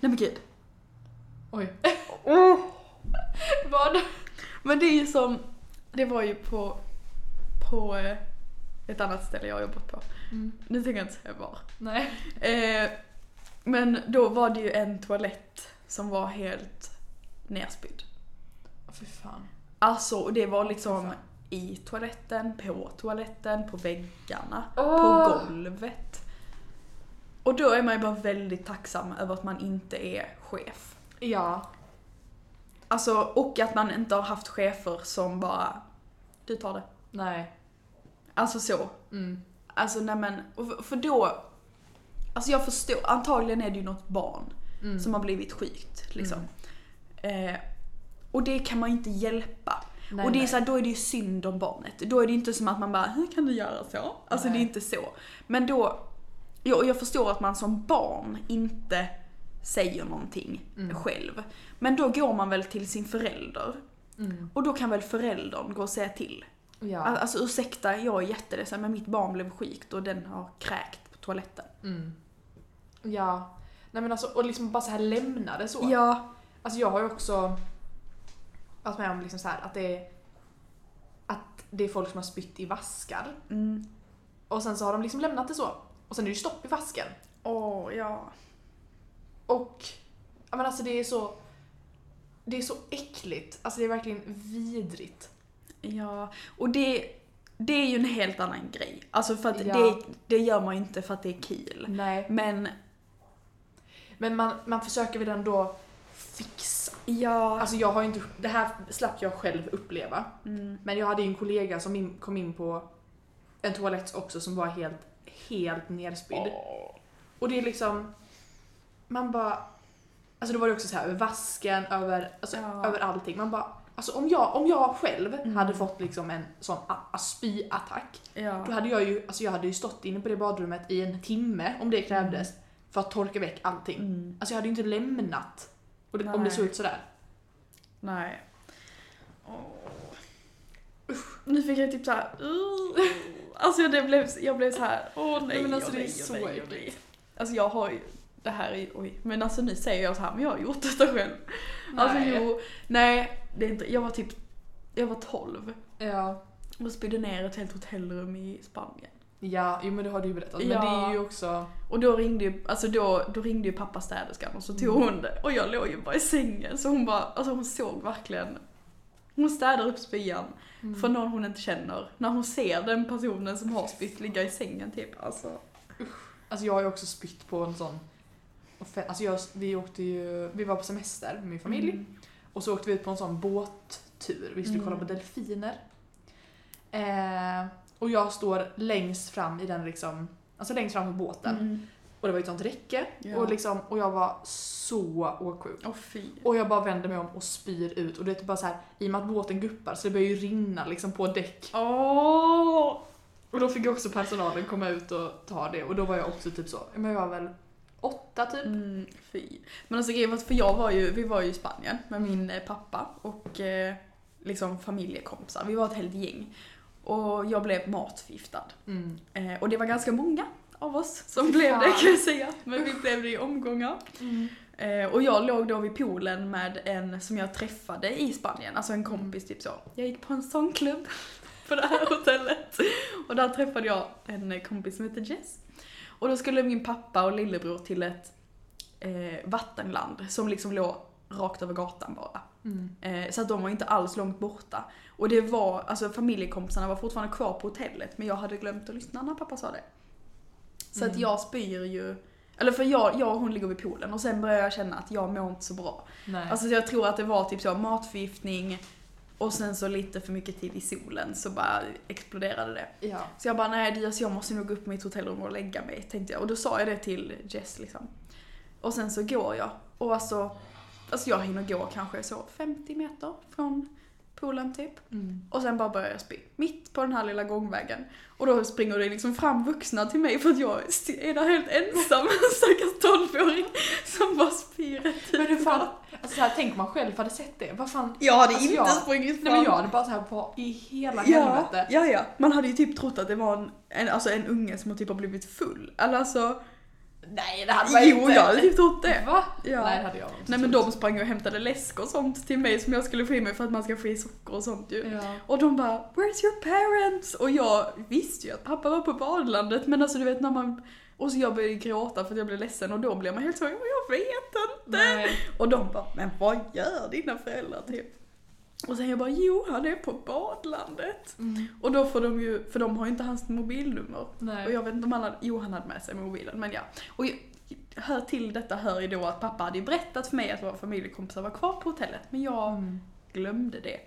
A: Nej men gud.
B: Oj.
A: Oh.
B: Vad?
A: Men det är ju som, det var ju på, på eh, ett annat ställe jag har jobbat på. Nu tänker jag inte säga var.
B: Mm. Nej.
A: Eh, men då var det ju en toalett som var helt nerspydd.
B: Åh, Fy fan.
A: Alltså, och det var liksom
B: Fan.
A: i toaletten, på toaletten, på väggarna,
B: Åh.
A: på golvet. Och då är man ju bara väldigt tacksam över att man inte är chef.
B: Ja.
A: Alltså, och att man inte har haft chefer som bara, du tar det.
B: Nej.
A: Alltså så.
B: Mm.
A: Alltså nej men, och för- för då... Alltså jag förstår, antagligen är det ju något barn
B: Mm.
A: som har blivit sjukt liksom. Eh, och det kan man ju inte hjälpa.
B: Nej,
A: och det är
B: nej.
A: så här, då är det ju synd om barnet. Då är det ju inte som att man bara, hur kan du göra så? Alltså
B: Nej.
A: det är inte så. Men då, jag, jag förstår att man som barn inte säger någonting
B: Mm.
A: själv. Men då går man väl till sin förälder.
B: Mm.
A: Och då kan väl föräldern gå och säga till. Al-
B: Ja.
A: Alltså ursäkta, jag är jätteledsen men mitt barn blev sjukt och den har kräkt på toaletten.
B: Mm. Ja. Nej men alltså, och liksom bara så här lämna det så.
A: Ja.
B: Alltså jag har ju också varit med om liksom så här att det är att det är folk som har spytt i vaskar
A: Mm.
B: och sen så har de liksom lämnat det så. Och sen är det ju stopp i vasken.
A: Åh, ja.
B: Och ja, men alltså det är så det är så äckligt. Alltså det är verkligen vidrigt.
A: Ja. Och det, det är ju en helt annan grej. Alltså för att
B: Ja.
A: det, det gör man ju inte för att det är kul.
B: Nej.
A: Men
B: Men man, man försöker väl ändå fixa.
A: ja.
B: Alltså jag har ju inte, det här slapp jag själv uppleva.
A: Mm.
B: Men jag hade ju en kollega som in, kom in på en toalett också som var helt, helt nerspydd. Och det är liksom, man bara, alltså då var det också så här över vasken, över, alltså,
A: Ja.
B: över allting. Man bara, alltså om jag, om jag själv
A: Mm.
B: hade fått liksom en sån a, a spyattack Då
A: Ja.
B: hade jag ju, alltså jag hade ju stått inne på det badrummet i en timme om det krävdes för att torka väck allting.
A: Mm.
B: Alltså jag hade ju inte lämnat och det, om det
A: Nej.
B: såg ut sådär.
A: Nej. Åh. Usch. Nu fick jag typ såhär... Uh. Alltså det blev, jag blev såhär... Åh nej,
B: men alltså,
A: åh,
B: det är
A: nej, åh,
B: så
A: nej, åh, nej.
B: äckligt.
A: Alltså jag har ju... Det här är ju... Oj. Men alltså nu säger jag så här, men jag har gjort detta själv. Alltså jo, nej, det är inte, jag var typ jag var 12
B: Ja.
A: och spydde ner ett helt hotellrum i Spanien.
B: Ja, jo men det har du ju berättat. Men
A: Ja.
B: det är ju också...
A: Och då ringde ju, alltså då, då ringde ju pappa städerskan och så tog hon det. Och jag låg ju bara i sängen så hon bara, alltså hon såg verkligen. Hon städar upp spyan
B: Mm.
A: för någon hon inte känner. När hon ser den personen som har spytt ligga i sängen typ. Alltså.
B: Alltså jag har ju också spytt på en sån... offe- Alltså jag, vi åkte ju... Vi var på semester med min familj. Och så åkte vi ut på en sån båttur. Vi skulle
A: Mm.
B: kolla på delfiner. Eh, och jag står längst fram i den liksom... Alltså längst fram på båten.
A: Mm.
B: Och det var ju ett sånt räcke.
A: Ja.
B: Och, liksom, och jag var så awkward.
A: Åh fy.
B: Och jag bara vänder mig om och spyr ut och det är typ bara så här i och med att båten guppar så det börjar ju rinna liksom på däck.
A: Åh!
B: Och då fick ju också personalen komma ut och ta det och då var jag också typ så, men jag var väl åtta typ.
A: Mm, fy. Men alltså grejen var att- för jag var ju, vi var ju i Spanien med min eh, pappa och eh, liksom familjekompisar. Vi var ett helt gäng. Och jag blev matförgiftad.
B: Mm.
A: Eh, och det var ganska många av oss som
B: Fy
A: blev det
B: fan.
A: kan jag säga. Men vi blev det i omgångar.
B: Mm.
A: Eh, och jag låg då vid poolen med en som jag träffade i Spanien, alltså en kompis typ så. Jag gick på en sångklubb på det här hotellet. Och där träffade jag en kompis som heter Jess. Och då skulle min pappa och lillebror till ett eh, vattenland som liksom låg rakt över gatan bara.
B: Mm.
A: Eh, så att de var inte alls långt borta. Och det var, alltså familjekompisarna var fortfarande kvar på hotellet men jag hade glömt att lyssna när pappa sa det. Så att
B: Mm.
A: jag spyr ju, eller för jag, jag och hon ligger vid poolen och sen börjar jag känna att jag mår inte så bra.
B: Nej.
A: Alltså jag tror att det var typ så matförgiftning och sen så lite för mycket tid i solen så bara exploderade det.
B: ja.
A: Så jag bara, nej det- alltså jag måste nog gå upp på mitt hotellrum och lägga mig, tänkte jag. Och då sa jag det till Jess liksom. Och sen så går jag. Och alltså, alltså jag hinner gå kanske så 50 meter från poolen typ.
B: Mm.
A: Och sen bara börjar jag spy. Mitt på den här lilla gångvägen. Och då springer det liksom fram vuxna till mig för att jag är där helt ensam. En stackars tolvåring som bara spyr rätt
B: Men
A: ut.
B: hur fan, alltså så här, tänk om man själv hade sett det. Vad fan?
A: Jag hade
B: Alltså,
A: inte
B: jag-
A: sprungit fram.
B: Nej men jag hade bara så här på i hela
A: Ja,
B: helvete.
A: ja, ja. Man hade ju typ trott att det var en, en, alltså en unge som typ har blivit full. Eller alltså,
B: Nej Alltså, det hade man
A: Jo,
B: inte.
A: jag hade typ trott det.
B: Va?
A: Ja.
B: Nej
A: Nej,
B: det hade jag inte.
A: men de sprang och hämtade läsk och sånt till mig som jag skulle få i mig för att man ska få i socker och sånt ju.
B: Ja.
A: Och de bara “Where's your parents?” och jag visste ju att pappa var på badlandet men alltså du vet när man... Och så jag började gråta för att jag blev ledsen och då blev man helt så “Jag vet inte!”
B: Nej.
A: Och de bara “Men vad gör dina föräldrar?” typ. Och sen jag bara “Jo, han är på badlandet!”
B: Mm.
A: Och då får de ju, för de har ju inte hans mobilnummer. Och
B: Nej.
A: jag vet inte om han hade, jo han hade med sig mobilen men ja. Och jag, hör till detta hör ju då att pappa hade ju berättat för mig att våra familjekompisar var kvar på hotellet men jag
B: Mm.
A: glömde det.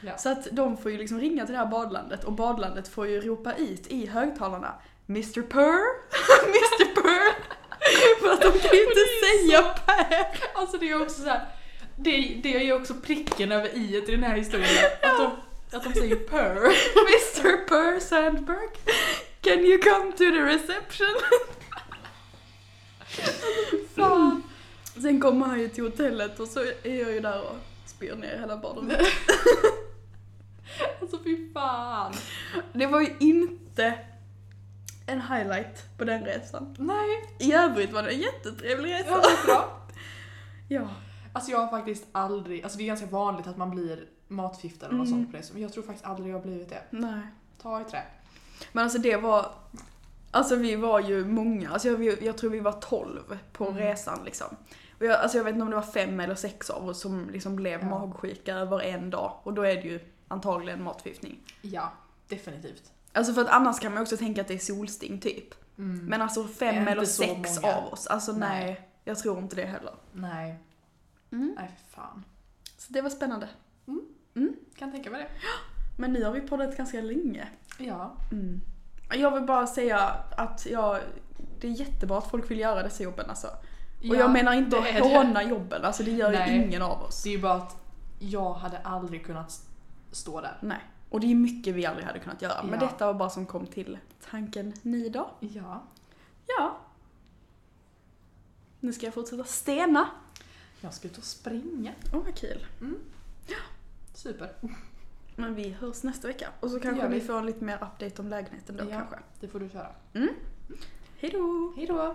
B: Ja.
A: Så att de får ju liksom ringa till det här badlandet och badlandet får ju ropa ut i högtalarna Mr Purr, Mr Purr. För att de kan ju
B: Och
A: inte
B: det är ju
A: säga
B: så-
A: Purr.
B: Alltså det är också så här. Det, det är ju också pricken över i i den här historien. Att, de, att de säger purr.
A: Mr Purr Sandberg, can you come to the reception?
B: Fan.
A: Sen kommer han ju till hotellet och så är jag ju där och spyr ner hela badrummet.
B: Alltså fy fan.
A: Det var ju inte en highlight på den resan.
B: Nej,
A: I övrigt var det en jättetrevlig
B: det
A: resa.
B: var bra.
A: Ja.
B: Alltså jag har faktiskt aldrig, alltså det är ganska vanligt att man blir matförgiftad eller något
A: Mm.
B: sånt på det. Men jag tror faktiskt aldrig jag har blivit det.
A: Nej.
B: Ta i trä.
A: Men alltså det var... Alltså vi var ju många, alltså jag, vi- jag tror vi var 12 på
B: Mm.
A: resan liksom. Och jag, alltså jag vet inte om det var fem eller sex av oss som liksom blev
B: Ja.
A: magsjuka över en dag. Och då är det ju antagligen matförgiftning.
B: Ja, definitivt.
A: Alltså för att annars kan man också tänka att det är solsting typ.
B: Mm.
A: Men alltså
B: Det är
A: fem
B: inte
A: eller
B: så
A: sex
B: många.
A: av oss, alltså nej.
B: Nej.
A: Jag tror inte det heller.
B: Nej,
A: Mm.
B: nej för fan.
A: Så det var spännande.
B: Kan tänka mig det.
A: Men nu har vi poddat ganska länge.
B: Ja.
A: Mm. Jag vill bara säga att jag, det är jättebra att folk vill göra dessa jobben alltså. Och
B: Ja,
A: jag menar inte
B: det
A: att
B: är det.
A: håna jobben, alltså det gör ju
B: Nej.
A: ingen av oss.
B: Det är ju bara att jag hade aldrig kunnat stå där.
A: Nej. Och det är mycket vi aldrig hade kunnat göra. Men
B: Ja.
A: detta var bara som kom till tanken ni då.
B: Ja.
A: Ja. Nu ska jag fortsätta stena.
B: Jag ska ut och springa.
A: Åh vad kul.
B: Super.
A: Men vi hörs nästa vecka. Och så
B: Det
A: kanske
B: gör
A: ni
B: vi.
A: får en lite mer update om lägenheten då
B: Ja.
A: kanske.
B: Det får du köra.
A: Hejdå!
B: Hejdå!